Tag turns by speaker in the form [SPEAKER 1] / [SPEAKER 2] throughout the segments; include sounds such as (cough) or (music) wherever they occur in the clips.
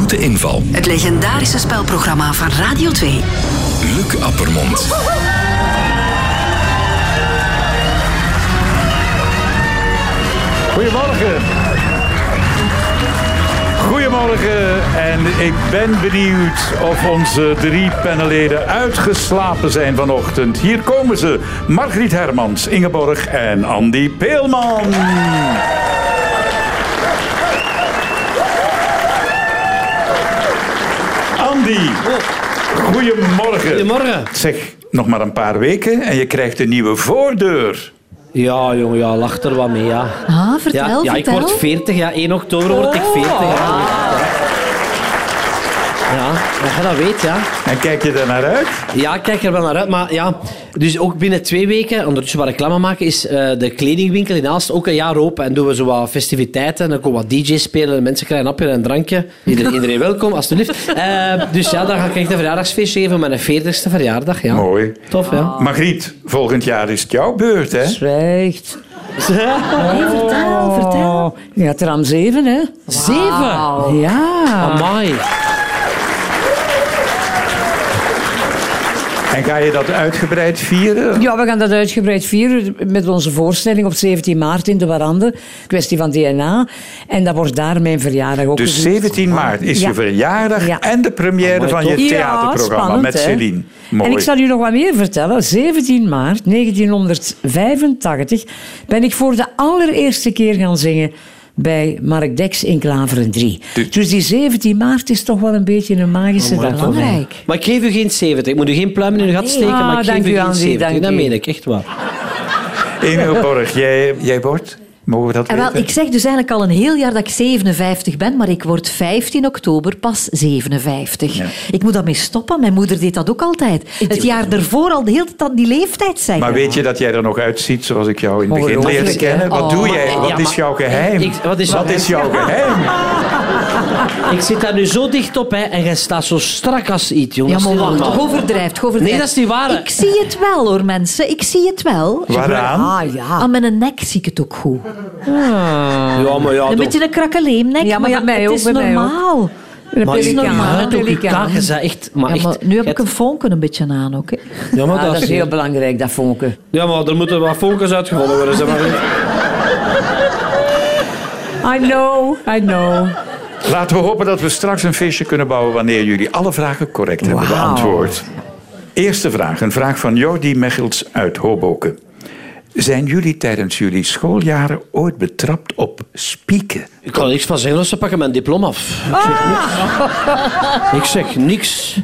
[SPEAKER 1] Grote inval.
[SPEAKER 2] Het legendarische spelprogramma van Radio 2.
[SPEAKER 1] Luc Appermond.
[SPEAKER 3] Goedemorgen. Goedemorgen en ik ben benieuwd of onze drie panelleden uitgeslapen zijn vanochtend. Hier komen ze, Margriet Hermans, Ingeborg en Andy Peelman. Andy, goedemorgen.
[SPEAKER 4] Goedemorgen.
[SPEAKER 3] Zeg, nog maar een paar weken en je krijgt een nieuwe voordeur.
[SPEAKER 4] Ja, jongen, ja, lach er wat mee, ja.
[SPEAKER 5] Ah,
[SPEAKER 4] Ja,
[SPEAKER 5] vertel,
[SPEAKER 4] ja ik
[SPEAKER 5] vertel. Oh.
[SPEAKER 4] word 40, ja. 1 oktober word ik 40. Ja, ja dat je dat weet, ja.
[SPEAKER 3] En kijk je daar naar uit?
[SPEAKER 4] Ja, ik kijk er wel naar uit. Maar ja, dus ook binnen twee weken, ondertussen waar reclame maken, is eh, de kledingwinkel in Aalst ook een jaar open. En doen we zo wat festiviteiten. En dan komen wat DJ's spelen. En mensen krijgen een appje en een drankje. Iedereen, iedereen welkom, alsjeblieft. Eh dus ja, dan ga ik echt een verjaardagsfeest geven. Mijn 40ste verjaardag, ja.
[SPEAKER 3] Mooi.
[SPEAKER 4] Tof,
[SPEAKER 5] Ah.
[SPEAKER 4] ja.
[SPEAKER 3] Margriet, volgend jaar is het jouw beurt, hè?
[SPEAKER 6] Zwijgt.
[SPEAKER 5] Nee, vertel, vertel. Oh.
[SPEAKER 6] Je had er aan Oh. zeven, hè?
[SPEAKER 4] (laughs) Zeven!
[SPEAKER 6] Ja.
[SPEAKER 4] Amai.
[SPEAKER 3] En ga je dat uitgebreid vieren? Dus
[SPEAKER 6] Ja, we gaan dat uitgebreid vieren met onze voorstelling op 17 maart in de Warande. Kwestie van DNA. En dat wordt daar mijn verjaardag ook
[SPEAKER 3] Dus
[SPEAKER 6] gevierd.
[SPEAKER 3] 17 maart is
[SPEAKER 6] Ja.
[SPEAKER 3] je verjaardag
[SPEAKER 6] Ja.
[SPEAKER 3] en de première van je
[SPEAKER 6] ja,
[SPEAKER 3] theaterprogramma
[SPEAKER 6] spannend,
[SPEAKER 3] met
[SPEAKER 6] hè?
[SPEAKER 3] Céline. Mooi.
[SPEAKER 6] En ik zal u nog wat meer vertellen. 17 maart 1985 ben ik voor de allereerste keer gaan zingen bij Mark Dex in Klaveren 3.
[SPEAKER 3] Dus-
[SPEAKER 6] Dus die 17 maart is toch wel een beetje een magische
[SPEAKER 5] Oh,
[SPEAKER 6] dag.
[SPEAKER 5] Belangrijk.
[SPEAKER 4] Maar ik geef u geen 70. Ik moet u geen pluimen in uw gat steken,
[SPEAKER 6] Ah,
[SPEAKER 4] maar ik geef
[SPEAKER 6] dank
[SPEAKER 4] u
[SPEAKER 6] u,
[SPEAKER 4] geen
[SPEAKER 6] Andy,
[SPEAKER 4] 70.
[SPEAKER 6] dank
[SPEAKER 4] dat
[SPEAKER 6] u.
[SPEAKER 4] meen ik, echt waar.
[SPEAKER 3] Ingeborg, jij, jij wordt? Mogen we dat
[SPEAKER 6] Eh,
[SPEAKER 5] En wel,
[SPEAKER 3] weten?
[SPEAKER 5] ik zeg dus eigenlijk al een heel jaar dat ik 57 ben, maar ik word 15 oktober pas 57. Ik moet daarmee stoppen. Mijn moeder deed dat ook altijd. Het jaar daarvoor al de hele tijd aan die leeftijd zijn.
[SPEAKER 3] Maar weet je dat jij er nog uitziet zoals ik jou in het begin
[SPEAKER 6] Ongelooflijk,
[SPEAKER 3] leerde
[SPEAKER 6] hè?
[SPEAKER 3] kennen? Wat
[SPEAKER 5] Oh,
[SPEAKER 3] doe
[SPEAKER 5] maar-
[SPEAKER 3] jij? Wat
[SPEAKER 4] ja,
[SPEAKER 3] is
[SPEAKER 4] maar-
[SPEAKER 3] jouw geheim?
[SPEAKER 4] Ik- wat is jouw
[SPEAKER 3] jouw geheim?
[SPEAKER 4] Ik zit daar nu zo dicht op hè, en jij staat zo strak als iets,
[SPEAKER 5] Ja,
[SPEAKER 4] jongens.
[SPEAKER 5] maar wacht, toch overdrijft, toch overdrijft.
[SPEAKER 4] Nee, dat is niet waar, hè.
[SPEAKER 5] Ik zie het wel, hoor, mensen. Ik zie het wel.
[SPEAKER 3] Waaraan?
[SPEAKER 6] Ah ja.
[SPEAKER 5] Aan mijn nek zie ik het ook goed.
[SPEAKER 4] Ja, maar ja,
[SPEAKER 5] Een
[SPEAKER 4] toch.
[SPEAKER 5] beetje een krakkeleemnek,
[SPEAKER 6] Ja, maar bij mij
[SPEAKER 5] het
[SPEAKER 6] ook,
[SPEAKER 5] is
[SPEAKER 6] bij mij ook.
[SPEAKER 5] normaal.
[SPEAKER 4] Maar
[SPEAKER 5] is
[SPEAKER 4] je
[SPEAKER 5] normaal,
[SPEAKER 4] huid op je
[SPEAKER 6] pelikaan.
[SPEAKER 4] kaak is dat echt... Maar
[SPEAKER 5] Ja, maar
[SPEAKER 4] echt
[SPEAKER 5] nu heb
[SPEAKER 4] het-
[SPEAKER 5] ik een vonken een beetje aan ook. Hè.
[SPEAKER 4] Ja, maar
[SPEAKER 6] Ah,
[SPEAKER 4] dat
[SPEAKER 6] dat is heel belangrijk, dat vonken.
[SPEAKER 4] Ja, maar er moeten wat focus uitgevonden worden. Zeg maar.
[SPEAKER 6] I know, I know.
[SPEAKER 3] Laten we hopen dat we straks een feestje kunnen bouwen wanneer jullie alle vragen correct hebben
[SPEAKER 6] Wauw.
[SPEAKER 3] beantwoord. Eerste vraag, een vraag van Jordi Mechels uit Hoboken. Zijn jullie tijdens jullie schooljaren ooit betrapt op spieken?
[SPEAKER 4] Ik kan er niks van zeggen, want ze pakken mijn diploma af. Ik zeg
[SPEAKER 5] Ah!
[SPEAKER 4] niks. Ik zeg niks.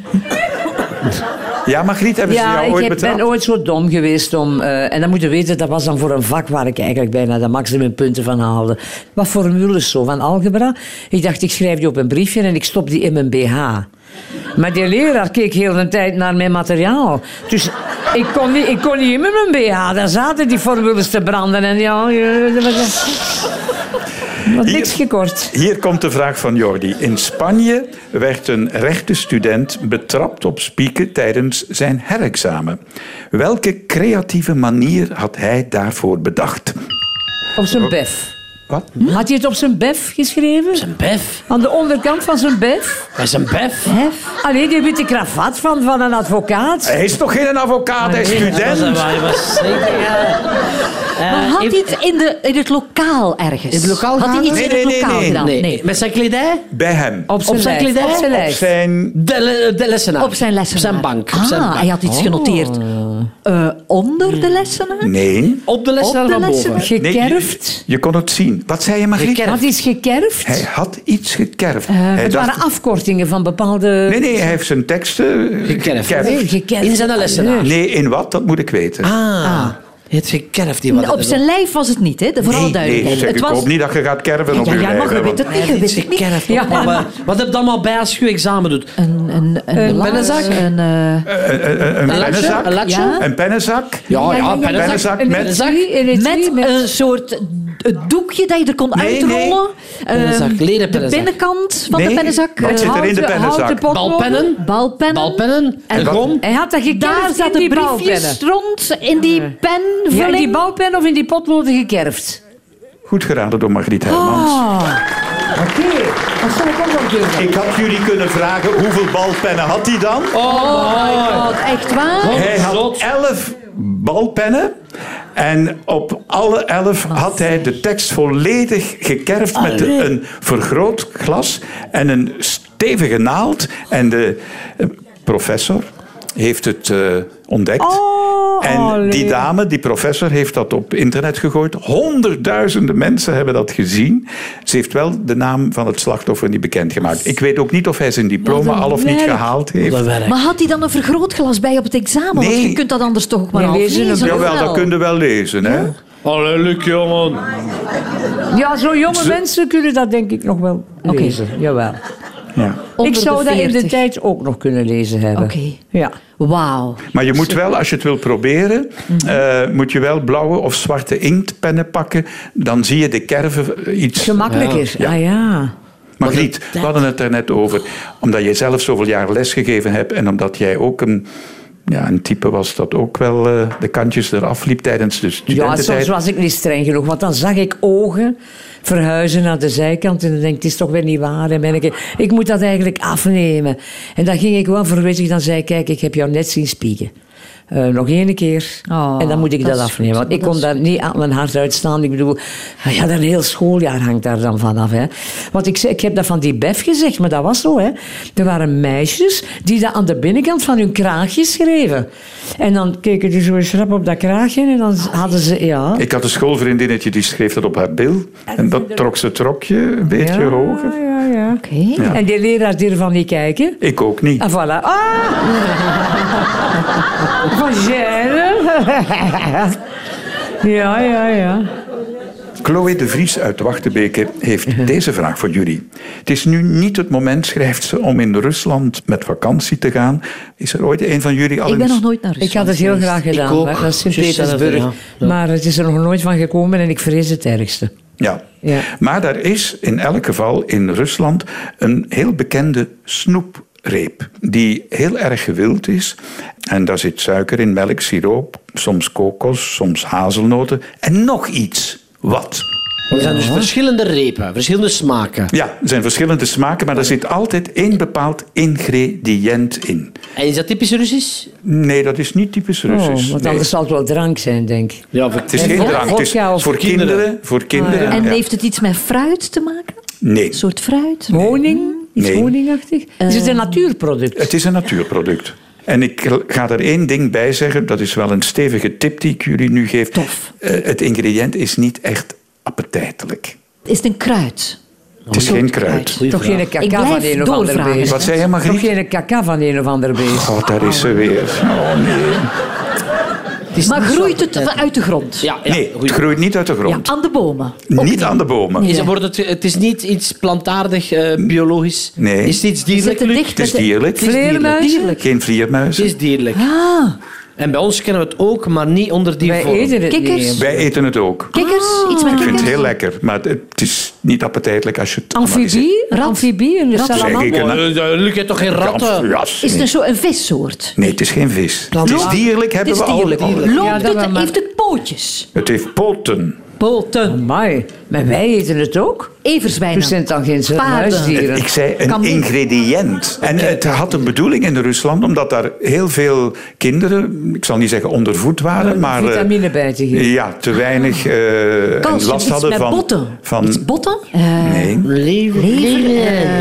[SPEAKER 3] Ja, Margriet, hebben ze
[SPEAKER 6] Ja,
[SPEAKER 3] jou
[SPEAKER 6] ik
[SPEAKER 3] ooit
[SPEAKER 6] heb-
[SPEAKER 3] betrapt?
[SPEAKER 6] ben ooit zo dom geweest om... eh, en dan moet je weten, dat was dan voor een vak waar ik eigenlijk bijna de maximum punten van haalde. Wat formules zo, van algebra. Ik dacht, ik schrijf die op een briefje en ik stop die in mijn BH. Maar die leraar keek heel de tijd naar mijn materiaal. Dus ik kon niet, ik kon niet in mijn BH. Daar zaten die formules te branden. En ja, eh, dat was- wat niks gekort.
[SPEAKER 3] Hier komt de vraag van Jordi. In Spanje werd een rechte student betrapt op spieken tijdens zijn herexamen. Welke creatieve manier had hij daarvoor bedacht?
[SPEAKER 6] Op
[SPEAKER 3] Oh.
[SPEAKER 6] zijn bef.
[SPEAKER 3] Wat?
[SPEAKER 6] Had hij het op zijn bef geschreven?
[SPEAKER 4] Een bef.
[SPEAKER 6] Aan de onderkant van zijn bef?
[SPEAKER 4] Dat is een bef.
[SPEAKER 6] Hef? Allee, die witte kravat van, van een advocaat.
[SPEAKER 5] Eh,
[SPEAKER 3] Hij is toch geen advocaat, hij is
[SPEAKER 4] Dat was,
[SPEAKER 3] student.
[SPEAKER 4] dat was zeker. ja. Eh,
[SPEAKER 5] Maar had
[SPEAKER 4] heeft-
[SPEAKER 5] hij het in, de, in het lokaal ergens?
[SPEAKER 4] In het lokaal
[SPEAKER 5] Had hij
[SPEAKER 4] gedaan?
[SPEAKER 5] iets
[SPEAKER 3] Nee,
[SPEAKER 5] in het
[SPEAKER 3] nee, nee,
[SPEAKER 5] lokaal
[SPEAKER 3] nee.
[SPEAKER 5] gedaan?
[SPEAKER 4] Nou, Nee. nee, met zijn kledij?
[SPEAKER 3] Bij hem.
[SPEAKER 6] Op zijn,
[SPEAKER 4] Op zijn
[SPEAKER 6] lijf.
[SPEAKER 4] kledij?
[SPEAKER 6] Op zijn
[SPEAKER 4] Op
[SPEAKER 6] lijf.
[SPEAKER 3] Zijn...
[SPEAKER 4] De, le- eh, de lessenaar.
[SPEAKER 5] Op zijn lessenaar.
[SPEAKER 4] Op zijn bank. Op,
[SPEAKER 5] Ah,
[SPEAKER 4] zijn bank. Oh.
[SPEAKER 5] hij had iets genoteerd. Eh, onder de lessenaar?
[SPEAKER 3] Nee.
[SPEAKER 4] op de lessenaar
[SPEAKER 5] Op de
[SPEAKER 4] van boven.
[SPEAKER 5] lessenaar.
[SPEAKER 3] Nee,
[SPEAKER 6] Gekerfd.
[SPEAKER 3] je, je kon het zien. Wat zei je, Margriet?
[SPEAKER 4] Gekerfd.
[SPEAKER 6] Had iets gekerfd?
[SPEAKER 3] Hij had iets gekerfd.
[SPEAKER 5] Eh,
[SPEAKER 3] hij
[SPEAKER 6] het waren afkortingen van bepaalde...
[SPEAKER 3] Nee, nee, hij heeft zijn teksten eh,
[SPEAKER 4] Gekerfd.
[SPEAKER 6] Nee, gekerfd.
[SPEAKER 4] In zijn lessenaar.
[SPEAKER 3] Nee, in wat? Dat moet ik weten.
[SPEAKER 4] Ah. Het gekerfd die wat
[SPEAKER 5] Op zijn lijf was het niet, hè? De- Vooral
[SPEAKER 3] nee,
[SPEAKER 5] duidelijkheid.
[SPEAKER 3] nee, zeg,
[SPEAKER 5] het
[SPEAKER 3] ik
[SPEAKER 5] was...
[SPEAKER 3] hoop niet dat je gaat kerven op
[SPEAKER 5] ja,
[SPEAKER 3] je
[SPEAKER 5] ja,
[SPEAKER 3] lijf,
[SPEAKER 5] maar
[SPEAKER 3] hè,
[SPEAKER 5] je weet
[SPEAKER 3] want-
[SPEAKER 5] het niet, je weet het niet.
[SPEAKER 4] Gekerfd. op. Maar wat- Wat heb je allemaal bij als je examen doet?
[SPEAKER 5] Een, een, een, laars,
[SPEAKER 4] pennenzak?
[SPEAKER 5] Een, eh,
[SPEAKER 3] Een, een pennenzak.
[SPEAKER 4] Een latje?
[SPEAKER 5] Ja.
[SPEAKER 3] Een pennenzak.
[SPEAKER 4] Ja, ja,
[SPEAKER 3] Een
[SPEAKER 4] pennenzak.
[SPEAKER 3] pennenzak
[SPEAKER 6] Een
[SPEAKER 3] met...
[SPEAKER 6] etui, een etui
[SPEAKER 5] met
[SPEAKER 6] met-
[SPEAKER 5] een soort doekje dat je er kon
[SPEAKER 3] Nee, nee.
[SPEAKER 5] uitrollen.
[SPEAKER 4] Pennenzak,
[SPEAKER 5] Ehm,
[SPEAKER 4] leren
[SPEAKER 5] de
[SPEAKER 4] pennenzak.
[SPEAKER 5] binnenkant van
[SPEAKER 3] Nee,
[SPEAKER 5] de pennenzak.
[SPEAKER 3] wat
[SPEAKER 5] eh,
[SPEAKER 3] zit er in de
[SPEAKER 6] Houten-
[SPEAKER 3] pennenzak?
[SPEAKER 6] houten potloden.
[SPEAKER 4] Balpennen?
[SPEAKER 5] Balpennen.
[SPEAKER 4] Balpennen?
[SPEAKER 5] En
[SPEAKER 4] Een
[SPEAKER 3] wat-
[SPEAKER 4] gom?
[SPEAKER 6] Hij had dat gekerfd
[SPEAKER 5] Daar zaten
[SPEAKER 6] in die
[SPEAKER 5] briefjes
[SPEAKER 6] balpennen.
[SPEAKER 5] rond in die penvulling.
[SPEAKER 6] Ja, in die balpen of in die potloden gekerfd.
[SPEAKER 3] Goed geraden door Margriet Hermans.
[SPEAKER 6] Oké, dat zou ik ook nog durven.
[SPEAKER 3] Ik had jullie kunnen vragen hoeveel balpennen had hij dan?
[SPEAKER 7] Oh my god, echt waar?
[SPEAKER 3] Hij had
[SPEAKER 4] Zot.
[SPEAKER 3] elf balpennen. En op alle elf had hij de tekst volledig gekerfd met
[SPEAKER 6] Allee.
[SPEAKER 3] een vergrootglas en een stevige naald. En de eh, professor heeft het eh, ontdekt.
[SPEAKER 6] Oh,
[SPEAKER 3] en die
[SPEAKER 6] allee.
[SPEAKER 3] dame, die professor, heeft dat op internet gegooid. Honderdduizenden mensen hebben dat gezien. Ze heeft wel de naam van het slachtoffer niet bekendgemaakt. Ik weet ook niet of hij zijn diploma
[SPEAKER 7] Wat een
[SPEAKER 3] al of niet
[SPEAKER 7] werk.
[SPEAKER 3] gehaald heeft.
[SPEAKER 4] Dat werkt.
[SPEAKER 7] Maar had hij dan een vergrootglas bij op het examen? Want
[SPEAKER 3] Nee.
[SPEAKER 7] je kunt dat anders toch ook maar
[SPEAKER 6] Nee,
[SPEAKER 7] half
[SPEAKER 6] lezen
[SPEAKER 7] lezen,
[SPEAKER 6] hem.
[SPEAKER 7] of
[SPEAKER 3] Jawel,
[SPEAKER 7] wel?
[SPEAKER 3] dat kun je wel lezen. Hè?
[SPEAKER 4] Allee, Luc, jongen.
[SPEAKER 6] Ja, zo jonge mensen kunnen dat denk ik nog wel
[SPEAKER 7] Oké.
[SPEAKER 6] lezen. Jawel.
[SPEAKER 3] Ja.
[SPEAKER 7] Onder
[SPEAKER 6] ik zou
[SPEAKER 7] de
[SPEAKER 6] dat in de
[SPEAKER 7] 40.
[SPEAKER 6] tijd ook nog kunnen lezen hebben.
[SPEAKER 7] Oké.
[SPEAKER 6] Ja.
[SPEAKER 7] Wauw.
[SPEAKER 3] Maar je moet wel, als je het wil proberen, eh, moet je wel blauwe of zwarte inktpennen pakken. Dan zie je de kerven eh, iets.
[SPEAKER 6] Gemakkelijker. Ja. Ah ja.
[SPEAKER 3] Maar niet, we hadden het er net over. Omdat jij zelf zoveel jaar lesgegeven hebt en omdat jij ook een, ja, een type was dat ook wel eh, de kantjes eraf liep tijdens de
[SPEAKER 6] Ja,
[SPEAKER 3] studententijd.
[SPEAKER 6] soms was ik niet streng genoeg, want dan zag ik ogen verhuizen naar de zijkant en dan denk ik, het is toch weer niet waar. En ben ik, ik moet dat eigenlijk afnemen. En dan ging ik wel verwittig, dan zei ik, kijk, ik heb jou net zien spieken. Eh, nog één keer.
[SPEAKER 7] Oh,
[SPEAKER 6] en dan moet ik
[SPEAKER 7] dat
[SPEAKER 6] dat,
[SPEAKER 7] is
[SPEAKER 6] afnemen.
[SPEAKER 7] goed.
[SPEAKER 6] Want ik
[SPEAKER 7] Dat
[SPEAKER 6] kon
[SPEAKER 7] is
[SPEAKER 6] daar niet aan mijn hart uitstaan. Ik bedoel, ah ja, een heel schooljaar hangt daar dan vanaf. Hè. Want ik, zei- ik heb dat van die Bef gezegd, maar dat was zo. Hè. Er waren meisjes die dat aan de binnenkant van hun kraagje schreven. En dan keken die zo eens rap op dat kraagje en dan hadden ze... Ja,
[SPEAKER 3] Ik had een schoolvriendinnetje die schreef dat op haar bil. En dat trok ze het rokje een beetje
[SPEAKER 6] ja,
[SPEAKER 3] hoger.
[SPEAKER 6] Ja, ja.
[SPEAKER 7] Oké.
[SPEAKER 3] Ja.
[SPEAKER 6] En die leraar die ervan niet kijken.
[SPEAKER 3] Ik ook niet.
[SPEAKER 6] En voilà.
[SPEAKER 7] (laughs)
[SPEAKER 6] Ah! Van Gêne. (laughs) Ja, ja, ja.
[SPEAKER 3] Chloe de Vries uit Wachtebeke heeft deze vraag voor jullie. Het is nu niet het moment, schrijft ze, om in Rusland met vakantie te gaan. Is er ooit een van jullie al
[SPEAKER 7] Ik ben
[SPEAKER 3] eens-
[SPEAKER 7] nog nooit naar
[SPEAKER 6] Ik
[SPEAKER 7] Rusland
[SPEAKER 6] had het heel graag
[SPEAKER 4] Ik
[SPEAKER 6] gedaan.
[SPEAKER 4] ook.
[SPEAKER 6] maar Dat is
[SPEAKER 4] Juist hetzelfde,
[SPEAKER 6] Sint-Petersburg.
[SPEAKER 4] ja. Ja.
[SPEAKER 6] Maar het is er nog nooit van gekomen en ik vrees het ergste.
[SPEAKER 3] Ja.
[SPEAKER 6] Ja.
[SPEAKER 3] Maar daar is in elk geval in Rusland een heel bekende snoepreep die heel erg gewild is. En daar zit suiker in, melk, siroop, soms kokos, soms hazelnoten en nog iets. Wat?
[SPEAKER 4] Er zijn dus verschillende repen, verschillende smaken.
[SPEAKER 3] Ja, er zijn verschillende smaken, maar er zit altijd één bepaald ingrediënt in.
[SPEAKER 4] En is dat typisch Russisch?
[SPEAKER 3] Nee, dat is niet typisch Russisch.
[SPEAKER 6] Oh, want
[SPEAKER 3] Nee.
[SPEAKER 6] anders zal het wel drank zijn, denk ik.
[SPEAKER 4] Ja,
[SPEAKER 3] Het is geen
[SPEAKER 6] Vodka
[SPEAKER 3] drank, het is
[SPEAKER 6] of
[SPEAKER 3] voor kinderen.
[SPEAKER 4] kinderen?
[SPEAKER 3] voor kinderen.
[SPEAKER 7] En
[SPEAKER 3] ja.
[SPEAKER 7] heeft het iets met fruit te maken?
[SPEAKER 3] Nee,
[SPEAKER 7] Een soort fruit?
[SPEAKER 6] Honing? Iets
[SPEAKER 3] Nee.
[SPEAKER 6] honingachtig? Is
[SPEAKER 7] Eh,
[SPEAKER 6] het een natuurproduct?
[SPEAKER 3] het is een natuurproduct. En ik ga er één ding bij zeggen, dat is wel een stevige tip die ik jullie nu geef.
[SPEAKER 7] Tof.
[SPEAKER 3] Eh, het ingrediënt is niet echt appetijtelijk.
[SPEAKER 7] Is het een kruid?
[SPEAKER 3] Het is geen kruid.
[SPEAKER 6] Toch geen
[SPEAKER 7] Ik
[SPEAKER 6] kaka
[SPEAKER 7] blijf
[SPEAKER 6] van een of ander
[SPEAKER 7] doorvragen.
[SPEAKER 6] beest?
[SPEAKER 3] Wat zei jij,
[SPEAKER 6] Toch
[SPEAKER 3] Margriet?
[SPEAKER 6] geen kaka van een of ander beest?
[SPEAKER 3] Oh, daar is ze weer. Oh, nee.
[SPEAKER 7] Maar groeit het uit de grond?
[SPEAKER 4] Ja, ja,
[SPEAKER 3] nee, het
[SPEAKER 4] goed.
[SPEAKER 3] groeit niet uit de grond.
[SPEAKER 7] Aan de bomen?
[SPEAKER 3] niet aan de bomen.
[SPEAKER 4] Is, wordt het, het is niet iets plantaardig, eh, biologisch.
[SPEAKER 3] Nee.
[SPEAKER 4] Is het iets dierlijk?
[SPEAKER 7] zitten
[SPEAKER 4] Luc?
[SPEAKER 7] dicht
[SPEAKER 3] Het is
[SPEAKER 7] met de-
[SPEAKER 3] dierlijk.
[SPEAKER 4] Het is dierlijk.
[SPEAKER 7] Dierlijk.
[SPEAKER 3] Geen
[SPEAKER 4] Het
[SPEAKER 3] vleermuizen.
[SPEAKER 7] Dus-
[SPEAKER 4] is dierlijk. En bij ons kennen we het ook, maar niet onder die
[SPEAKER 6] Wij
[SPEAKER 4] vorm.
[SPEAKER 6] eten het
[SPEAKER 7] Kikkers?
[SPEAKER 6] niet.
[SPEAKER 3] Wij eten het ook.
[SPEAKER 7] Kikkers?
[SPEAKER 6] Ah.
[SPEAKER 7] Iets met
[SPEAKER 3] Ik vind
[SPEAKER 7] kikkers?
[SPEAKER 3] het heel lekker, maar het- het is niet appetijtelijk als je het analyseert.
[SPEAKER 6] Amfibie? Een
[SPEAKER 7] Rat.
[SPEAKER 6] amfibie? Een
[SPEAKER 3] Zeg ik nou?
[SPEAKER 6] salamander?
[SPEAKER 3] een-
[SPEAKER 4] Oh, eh, Luc, je hebt toch geen ratten?
[SPEAKER 3] Ja,
[SPEAKER 7] Is het een, zo een vissoort?
[SPEAKER 3] Nee, het is geen vis. Het is dierlijk, hebben
[SPEAKER 7] Het is dierlijk.
[SPEAKER 3] we al.
[SPEAKER 7] Loopt
[SPEAKER 6] Ja, dat
[SPEAKER 7] het,
[SPEAKER 6] wel, maar-
[SPEAKER 7] heeft het pootjes?
[SPEAKER 3] Het heeft poten.
[SPEAKER 7] Poten.
[SPEAKER 6] Amai, maar wij eten het ook.
[SPEAKER 7] Everzwijnen.
[SPEAKER 6] Dus zijn het dan geen
[SPEAKER 7] Paarden.
[SPEAKER 6] huisdieren?
[SPEAKER 3] Ik zei een
[SPEAKER 7] Kan niet.
[SPEAKER 3] ingrediënt. En het had een bedoeling in Rusland, omdat daar heel veel kinderen, ik zal niet zeggen ondervoed waren, maar... eh,
[SPEAKER 6] Vitamine bij te geven.
[SPEAKER 3] Ja, te weinig eh, en
[SPEAKER 7] Calcium,
[SPEAKER 3] last
[SPEAKER 7] iets
[SPEAKER 3] hadden
[SPEAKER 7] met
[SPEAKER 3] van...
[SPEAKER 7] botten.
[SPEAKER 3] van
[SPEAKER 7] Iets botten? Eh,
[SPEAKER 3] nee.
[SPEAKER 7] Hij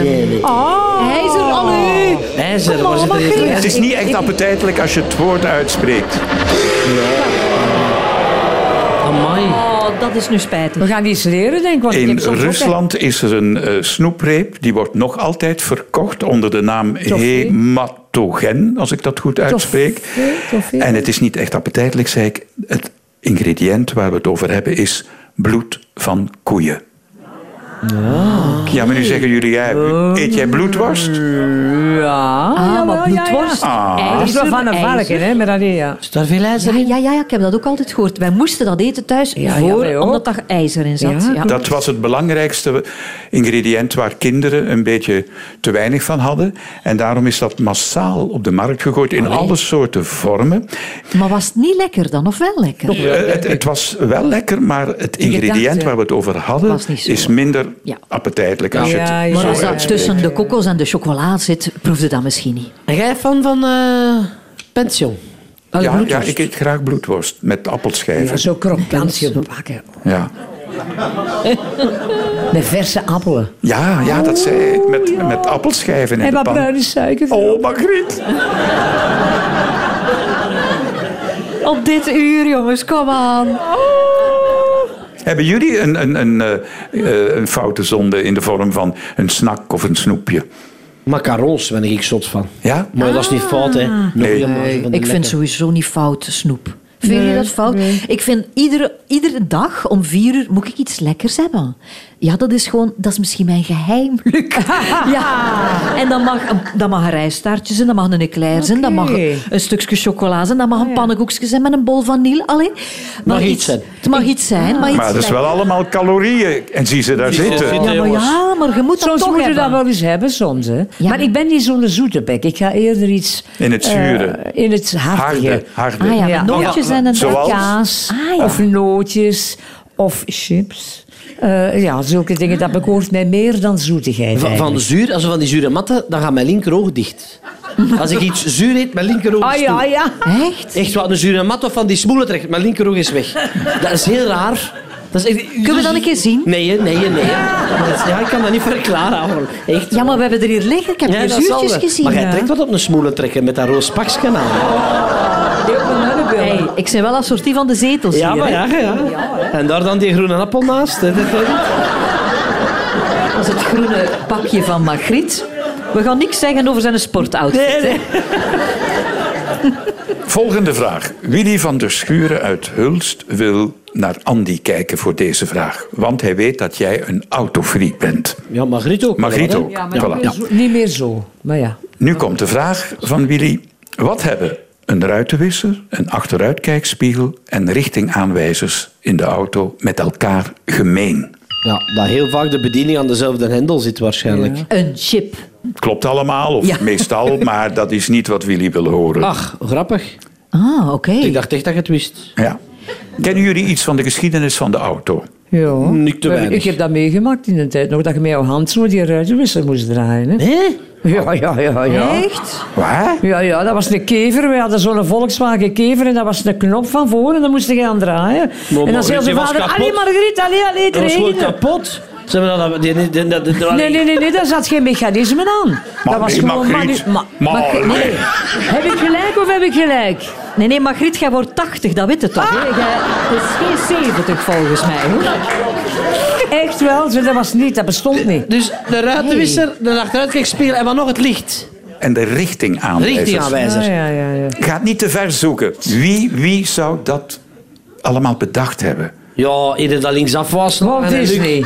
[SPEAKER 7] is er
[SPEAKER 6] Oh.
[SPEAKER 7] al u.
[SPEAKER 4] IJzer, waar zit er iets in?
[SPEAKER 3] Het is niet echt appetijtelijk als je het woord uitspreekt.
[SPEAKER 4] Amai.
[SPEAKER 7] Oh, dat is nu
[SPEAKER 6] We
[SPEAKER 7] spijtig.
[SPEAKER 6] gaan iets leren, denk ik. Want ik
[SPEAKER 3] In
[SPEAKER 6] heb soms ook-
[SPEAKER 3] Rusland is er een eh, snoepreep, die wordt nog altijd verkocht onder de naam
[SPEAKER 6] hè?
[SPEAKER 3] hematogen, als ik dat goed uitspreek.
[SPEAKER 6] hè? Tof, hè?
[SPEAKER 3] En het is niet echt appetijtelijk, zei ik. Het ingrediënt waar we het over hebben is bloed van koeien. Ja, maar nu zeggen jullie, jij, eet jij bloedworst? Ah.
[SPEAKER 6] Ja, Ah, ja,
[SPEAKER 7] Ah, maar
[SPEAKER 6] ja, ja, ja.
[SPEAKER 7] bloedworst,
[SPEAKER 6] Dat is wel
[SPEAKER 7] ijzer,
[SPEAKER 6] van een
[SPEAKER 7] ijzer.
[SPEAKER 6] varken, hè, met dat nee, ja.
[SPEAKER 4] Is daar veel
[SPEAKER 7] Ja,
[SPEAKER 4] ijzer in?
[SPEAKER 7] Ah, ja, ja, ja, ik heb dat ook altijd gehoord. Wij moesten dat eten thuis,
[SPEAKER 6] Ja, ja,
[SPEAKER 7] voor,
[SPEAKER 6] wij ook.
[SPEAKER 7] omdat daar ijzer in zat.
[SPEAKER 6] Ja,
[SPEAKER 7] Ja,
[SPEAKER 3] Dat was het belangrijkste ingrediënt waar kinderen een beetje te weinig van hadden. En daarom is dat massaal op de markt gegooid in alle soorten vormen.
[SPEAKER 7] Maar was het niet lekker dan, of wel lekker?
[SPEAKER 3] Eh, het, het was wel lekker, maar het ingrediënt
[SPEAKER 6] gedachte.
[SPEAKER 3] waar we het over hadden
[SPEAKER 7] Was niet zo.
[SPEAKER 3] is minder minder
[SPEAKER 7] Ja.
[SPEAKER 3] appetijtelijk als je het
[SPEAKER 6] Ja, ja,
[SPEAKER 7] Maar
[SPEAKER 3] zo
[SPEAKER 7] als dat
[SPEAKER 3] uitspreekt.
[SPEAKER 7] tussen de kokos en de chocola zit, proefde dat misschien niet.
[SPEAKER 4] En jij fan van eh pension?
[SPEAKER 6] Allee,
[SPEAKER 3] Ja, ja,
[SPEAKER 6] bloedworst.
[SPEAKER 3] ik eet graag bloedworst met appelschijven.
[SPEAKER 6] Ja, zo krokantje bakken.
[SPEAKER 3] Ja.
[SPEAKER 6] Met verse appelen.
[SPEAKER 3] Ja, ja, dat zei ik. Met, met appelschijven in
[SPEAKER 6] En
[SPEAKER 3] de
[SPEAKER 6] wat
[SPEAKER 3] pan.
[SPEAKER 6] bruine suiker.
[SPEAKER 3] Oh, Margriet.
[SPEAKER 7] Op dit uur, jongens, kom aan.
[SPEAKER 3] Oh. Hebben jullie een, een, een, eh, eh, een foute zonde in de vorm van een snack of een snoepje?
[SPEAKER 4] Macarons ben ik zot van.
[SPEAKER 3] Ja?
[SPEAKER 4] Maar dat is niet fout, hè? Nog
[SPEAKER 3] Nee.
[SPEAKER 4] een maatje van de
[SPEAKER 7] Ik vind
[SPEAKER 4] lekker.
[SPEAKER 7] sowieso niet fout snoep. Vind je dat fout? Ik vind iedere, iedere dag om vier uur moet ik iets lekkers hebben. Ja, dat is gewoon, dat is misschien mijn geheim, Luc. (laughs) ja. En dan mag, een- dan mag een rijstaartje zijn, dan mag een eclair zijn, dan mag een een stukje chocola zijn, dan mag een pannenkoekje zijn met een bol vanille. Allee, maar
[SPEAKER 4] iets zijn.
[SPEAKER 7] Het mag iets zijn, maar iets
[SPEAKER 3] Maar dat is wel
[SPEAKER 7] lekkers.
[SPEAKER 3] allemaal calorieën. En zie ze daar
[SPEAKER 4] Die
[SPEAKER 3] zitten.
[SPEAKER 4] zitten.
[SPEAKER 7] Ja, maar ja, maar je moet dat
[SPEAKER 6] Soms
[SPEAKER 7] toch
[SPEAKER 6] moet je
[SPEAKER 7] hebben.
[SPEAKER 6] dat wel eens hebben, soms. Hè.
[SPEAKER 7] Ja.
[SPEAKER 6] Maar ik ben niet zo'n zoete bek. Ik ga eerder iets...
[SPEAKER 3] In het
[SPEAKER 6] eh,
[SPEAKER 3] zure.
[SPEAKER 6] in het hartige.
[SPEAKER 3] Harde, harde.
[SPEAKER 7] Ah ja,
[SPEAKER 6] Ja.
[SPEAKER 7] maar nootjes en een
[SPEAKER 3] Zoals?
[SPEAKER 6] Kaas,
[SPEAKER 7] Ah, ja.
[SPEAKER 6] of nootjes, of chips. Eh, ja, zulke dingen. Dat bekoort mij meer dan zoetigheid
[SPEAKER 4] Van, van
[SPEAKER 6] eigenlijk.
[SPEAKER 4] zuur, als we van die zure matten, dan gaat mijn linkeroog dicht. Als ik iets zuur eet, mijn linkeroog is
[SPEAKER 6] Ah ja,
[SPEAKER 4] toe.
[SPEAKER 6] ja.
[SPEAKER 7] Echt?
[SPEAKER 4] Echt wat een zure mat of van die smoelen trekt, mijn linkeroog is weg. Dat is heel raar. Dat is echt- Dus-
[SPEAKER 7] Kunnen we dat een keer zien?
[SPEAKER 4] Nee, hè, nee, hè, nee. hè. Dat is- Ja, ik kan dat niet verklaren. hoor. Echt.
[SPEAKER 7] Ja, maar we hebben er hier liggen. Ik heb
[SPEAKER 4] Ja,
[SPEAKER 7] hier
[SPEAKER 4] dat zal
[SPEAKER 7] zuurtjes
[SPEAKER 4] wel. eh,
[SPEAKER 7] gezien.
[SPEAKER 4] Maar jij
[SPEAKER 7] hè.
[SPEAKER 4] trekt wat op een smoelen trekken met dat roos pakskanaal.
[SPEAKER 7] Hey, ik ben wel assortief van de zetels
[SPEAKER 4] Ja,
[SPEAKER 7] hier.
[SPEAKER 4] maar
[SPEAKER 7] hè.
[SPEAKER 4] ja, ja, ja. En daar dan die groene appel naast. hè. Dat- dat-
[SPEAKER 7] Dat is het groene pakje van Margriet. We gaan niks zeggen over zijn sportoutfit.
[SPEAKER 4] Nee, nee.
[SPEAKER 3] Volgende vraag. Willy van der Schuren uit Hulst wil naar Andy kijken voor deze vraag. Want hij weet dat jij een autofreak bent.
[SPEAKER 4] Ja, Margriet ook.
[SPEAKER 3] Margriet
[SPEAKER 4] wel, hè.
[SPEAKER 3] ook. Voilà.
[SPEAKER 6] Zo- Niet meer zo, maar ja.
[SPEAKER 3] Nu komt de vraag van Willy. Wat hebben een ruitenwisser, een achteruitkijkspiegel en richtingaanwijzers in de auto met elkaar gemeen?
[SPEAKER 4] Ja, dat heel vaak de bediening aan dezelfde hendel zit waarschijnlijk.
[SPEAKER 7] Een chip.
[SPEAKER 3] Klopt allemaal, of
[SPEAKER 7] Ja.
[SPEAKER 3] meestal, maar dat is niet wat Willy wil horen.
[SPEAKER 4] Ach, grappig.
[SPEAKER 7] Ah, oké.
[SPEAKER 4] Ik dacht echt dat je het wist.
[SPEAKER 3] Ja. Kennen jullie iets van de geschiedenis van de auto?
[SPEAKER 6] ja.
[SPEAKER 4] Hm, Niet te
[SPEAKER 6] Maar
[SPEAKER 4] weinig.
[SPEAKER 6] Hm. Ik heb dat meegemaakt in een tijd nog, dat je met jouw hand zo die ruitenwisser moest draaien. Hè?
[SPEAKER 4] Hé?
[SPEAKER 6] Ja, ja, ja, ja.
[SPEAKER 7] Echt?
[SPEAKER 3] Waar?
[SPEAKER 6] Ja, ja, dat was een kever. We hadden zo'n Volkswagen kever en dat was een knop van voren en dan moest je aan draaien. en dan
[SPEAKER 4] Margriet,
[SPEAKER 6] zei onze
[SPEAKER 4] die was
[SPEAKER 6] vader,
[SPEAKER 4] kapot.
[SPEAKER 6] allee Margriet, allee, allee, het
[SPEAKER 4] Dat was gewoon
[SPEAKER 6] regent.
[SPEAKER 4] kapot. Ze hebben dat... die- die- die- die- die- die-
[SPEAKER 6] Nee, nee, nee, nee, daar zat geen mechanisme aan. dat was
[SPEAKER 3] nee,
[SPEAKER 6] gewoon
[SPEAKER 3] Margriet.
[SPEAKER 6] manu-
[SPEAKER 3] Maar
[SPEAKER 6] Margriet,
[SPEAKER 3] nee.
[SPEAKER 6] Heb ik gelijk of heb ik gelijk?
[SPEAKER 7] Nee, nee, Margriet, jij wordt 80, dat weet je toch? hè? Jij- Het is geen 70 volgens mij. Hoor.
[SPEAKER 6] Echt wel, zo, dat was niet, dat bestond niet.
[SPEAKER 4] Dus de ruitenwisser, de achteruitkijkspiegel en wat nog het licht.
[SPEAKER 3] En de richtingaanwijzers.
[SPEAKER 4] Richtingaanwijzer.
[SPEAKER 6] Ah, ja, ja, ja.
[SPEAKER 3] Gaat niet te ver zoeken. Wie, wie zou dat allemaal bedacht hebben?
[SPEAKER 4] Ja, iedereen dat linksaf was.
[SPEAKER 6] Walt
[SPEAKER 4] En een
[SPEAKER 6] Disney.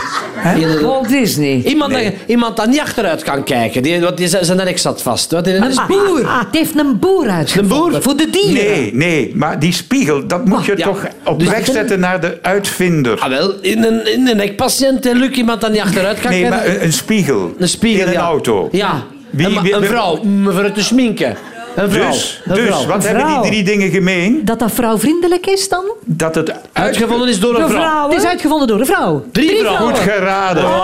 [SPEAKER 4] Luc- ieder-
[SPEAKER 6] Walt Disney.
[SPEAKER 4] Iemand, dat, iemand dat niet achteruit kan kijken. Die, want die zijn zijn nek zat vast. Wat, die-
[SPEAKER 7] Een boer.
[SPEAKER 6] Ah,
[SPEAKER 7] Het heeft een boer uitgevonden.
[SPEAKER 4] Een boer?
[SPEAKER 7] Voor de dieren.
[SPEAKER 3] Nee, nee, maar die spiegel, dat moet je
[SPEAKER 4] ja.
[SPEAKER 3] toch op
[SPEAKER 4] Dus-
[SPEAKER 3] weg zetten naar de uitvinder.
[SPEAKER 4] Ah, wel, in een, in een nekpatiënt, hè, Luc. Iemand dat niet achteruit kan
[SPEAKER 3] Nee,
[SPEAKER 4] kijken.
[SPEAKER 3] maar een, een spiegel.
[SPEAKER 4] Een spiegel,
[SPEAKER 3] In een
[SPEAKER 4] ja.
[SPEAKER 3] auto.
[SPEAKER 4] Ja.
[SPEAKER 3] Wie-
[SPEAKER 4] een, ma-
[SPEAKER 3] wie-
[SPEAKER 4] een
[SPEAKER 3] wie-
[SPEAKER 4] vrouw, om voor het te sminken. Een vrouw.
[SPEAKER 3] Dus,
[SPEAKER 4] een
[SPEAKER 3] dus
[SPEAKER 4] vrouw.
[SPEAKER 3] wat
[SPEAKER 6] Een
[SPEAKER 3] hebben die
[SPEAKER 6] vrouw.
[SPEAKER 3] drie dingen gemeen?
[SPEAKER 7] Dat dat vrouwvriendelijk is dan?
[SPEAKER 3] Dat het uitgevonden...
[SPEAKER 4] Uitgevonden is door een
[SPEAKER 6] De
[SPEAKER 4] vrouw.
[SPEAKER 6] vrouwen.
[SPEAKER 7] Het is uitgevonden door een vrouw.
[SPEAKER 4] Drie, vrouwen.
[SPEAKER 3] Goed geraden.
[SPEAKER 4] Oh.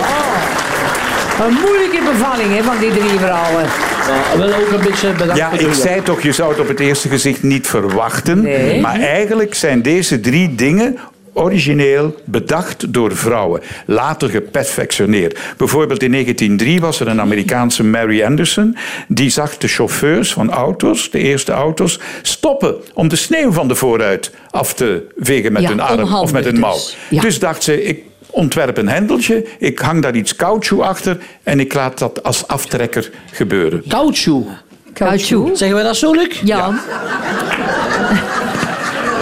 [SPEAKER 6] Oh. Een moeilijke bevalling hè, van die drie vrouwen.
[SPEAKER 4] Ja, wel ook een beetje bedankt
[SPEAKER 3] Ja,
[SPEAKER 4] voor
[SPEAKER 3] ik
[SPEAKER 4] jullie.
[SPEAKER 3] zei toch, je zou het op het eerste gezicht niet verwachten.
[SPEAKER 6] Nee.
[SPEAKER 3] Maar eigenlijk zijn deze drie dingen origineel bedacht door vrouwen. Later geperfectioneerd. Bijvoorbeeld in 1903 was er een Amerikaanse Mary Anderson... die zag de chauffeurs van auto's, de eerste auto's... stoppen om de sneeuw van de vooruit af te vegen met
[SPEAKER 7] Ja,
[SPEAKER 3] hun arm of
[SPEAKER 7] onhandig
[SPEAKER 3] met hun mouw.
[SPEAKER 7] dus. Ja.
[SPEAKER 3] dus dacht ze... Ik ontwerp een hendeltje, ik hang daar iets caoutchouc achter... en ik laat dat als aftrekker gebeuren.
[SPEAKER 4] Caoutchouc.
[SPEAKER 6] Nou,
[SPEAKER 7] Kautjoe.
[SPEAKER 4] Zeggen wij dat zo, Luc?
[SPEAKER 7] Ja.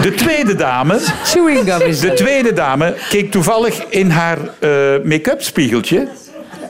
[SPEAKER 3] De tweede dame...
[SPEAKER 6] Chewing gum is
[SPEAKER 3] Dus De
[SPEAKER 6] dat.
[SPEAKER 3] tweede dame keek toevallig in haar eh, make-up spiegeltje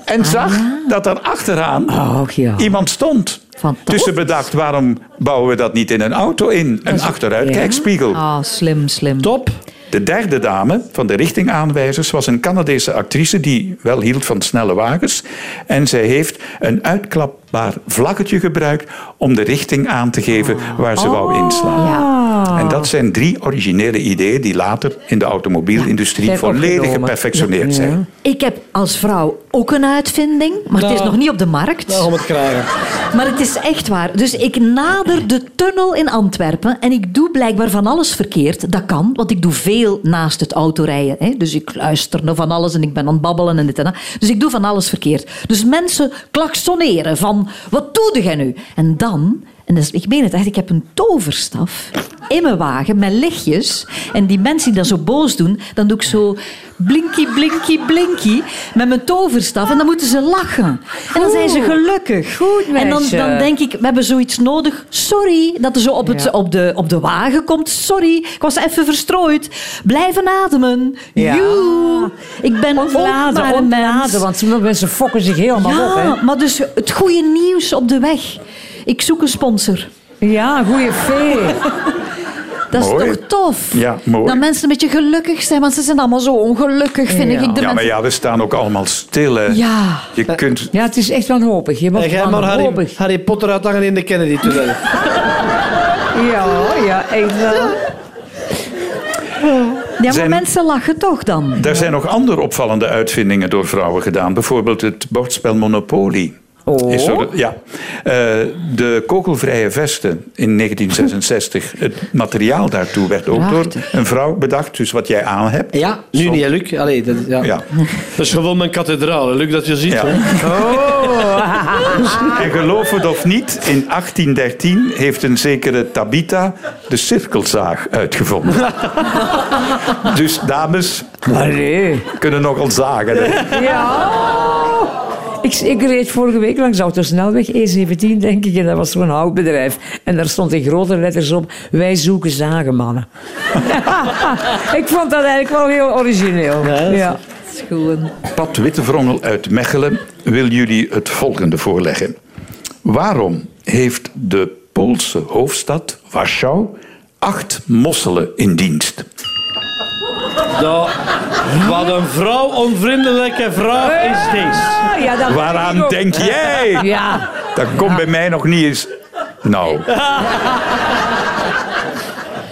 [SPEAKER 3] en zag dat daar achteraan
[SPEAKER 6] Ah. Oh, ja.
[SPEAKER 3] iemand stond.
[SPEAKER 7] Fantastisch.
[SPEAKER 3] Dus ze bedacht, waarom bouwen we dat niet in een auto in? Een achteruitkijkspiegel.
[SPEAKER 7] Ah, slim, slim.
[SPEAKER 4] Top.
[SPEAKER 3] De derde dame van de richtingaanwijzers was een Canadese actrice die wel hield van snelle wagens. En zij heeft een uitklapbaar vlaggetje gebruikt om de richting aan te geven waar ze wou inslaan.
[SPEAKER 7] Oh. Ja.
[SPEAKER 6] Ah.
[SPEAKER 3] En dat zijn drie originele ideeën die later in de automobielindustrie
[SPEAKER 6] zijn
[SPEAKER 3] volledig
[SPEAKER 6] opgenomen.
[SPEAKER 3] geperfectioneerd zijn.
[SPEAKER 7] Ik heb als vrouw ook een uitvinding, maar het is nog niet op de markt.
[SPEAKER 4] om het krijgen.
[SPEAKER 7] Maar het is echt waar. Dus ik nader de tunnel in Antwerpen en ik doe blijkbaar van alles verkeerd. Dat kan, want ik doe veel naast het autorijden. Hè. Dus ik luister naar van alles en ik ben aan het babbelen en dit en dat. Dus ik doe van alles verkeerd. Dus mensen klaksoneren van, wat doe jij nu? En dan, en dat is- ik meen het echt, ik heb een toverstaf in mijn wagen met lichtjes. En die mensen die dat zo boos doen, dan doe ik zo blinky, blinky, blinky met mijn toverstaf. En dan moeten ze lachen. En dan zijn ze gelukkig.
[SPEAKER 6] Goed,
[SPEAKER 7] En dan,
[SPEAKER 6] meisje.
[SPEAKER 7] dan denk ik, we hebben zoiets nodig. Sorry dat er zo op, het,
[SPEAKER 6] Ja.
[SPEAKER 7] op, de, op de wagen komt. Sorry, ik was even verstrooid. Blijven ademen.
[SPEAKER 6] Ja.
[SPEAKER 7] Joe. Ik ben ook
[SPEAKER 6] Ontladen,
[SPEAKER 7] maar een mens.
[SPEAKER 6] ontladen, want sommige mensen fokken zich helemaal op.
[SPEAKER 7] ja,
[SPEAKER 6] Hè.
[SPEAKER 7] maar dus het goede nieuws op de weg. Ik zoek een sponsor.
[SPEAKER 6] Ja, goede fee.
[SPEAKER 7] Dat is
[SPEAKER 3] Mooi.
[SPEAKER 7] toch tof?
[SPEAKER 3] Ja, mooi.
[SPEAKER 7] Dat mensen een beetje gelukkig zijn, want ze zijn allemaal zo ongelukkig, vind
[SPEAKER 6] Ja.
[SPEAKER 7] ik. De
[SPEAKER 3] Ja, maar
[SPEAKER 7] mensen-
[SPEAKER 3] ja, we staan ook allemaal stil. hè.
[SPEAKER 7] Ja.
[SPEAKER 3] Je kunt...
[SPEAKER 6] Ja, het is echt wanhopig. Je
[SPEAKER 4] En
[SPEAKER 6] wordt
[SPEAKER 4] jij maar Harry,
[SPEAKER 6] wanhopig.
[SPEAKER 4] Harry Potter uithangen in de Kennedy tunnel.
[SPEAKER 6] Ja, Oh, ja, echt wel.
[SPEAKER 7] ja, maar
[SPEAKER 3] Zijn-
[SPEAKER 7] mensen lachen toch dan?
[SPEAKER 3] Daar zijn nog andere opvallende uitvindingen door vrouwen gedaan. Bijvoorbeeld het bordspel Monopoly.
[SPEAKER 6] Oh.
[SPEAKER 3] Is door de- ja. Eh, de kogelvrije vesten in 1966. Het materiaal daartoe werd ook door
[SPEAKER 7] Prachtig.
[SPEAKER 3] een vrouw bedacht. Dus wat jij aan hebt.
[SPEAKER 4] Ja, nu niet, hè, Luc. Allee, dat, ja.
[SPEAKER 3] Ja.
[SPEAKER 8] Dat is gewoon mijn kathedraal, hè, Luc, dat je ziet.
[SPEAKER 3] Ja.
[SPEAKER 8] Hè?
[SPEAKER 3] En geloof het of niet, in 1813 heeft een zekere Tabitha de cirkelzaag
[SPEAKER 6] (laughs)
[SPEAKER 3] uitgevonden. dus dames
[SPEAKER 6] Allee.
[SPEAKER 3] kunnen nogal zagen. hè.
[SPEAKER 6] Ja. Ik, ik reed vorige week langs Autosnelweg E17, denk ik, en dat was zo'n houtbedrijf. En daar stond in grote letters op, wij zoeken zagenmannen. (laughs) ik vond dat eigenlijk wel heel origineel. Ja.
[SPEAKER 3] Pat Wittevrommel uit Mechelen wil jullie het volgende voorleggen. Waarom heeft de Poolse hoofdstad Warschau acht mosselen in dienst?
[SPEAKER 8] Dat- wat een vrouw onvriendelijke vraag is deze.
[SPEAKER 6] Ah, ja, dat ik
[SPEAKER 3] Waaraan
[SPEAKER 6] ook.
[SPEAKER 3] denk jij?
[SPEAKER 6] Ja.
[SPEAKER 3] Dat komt bij mij nog niet eens. Nou,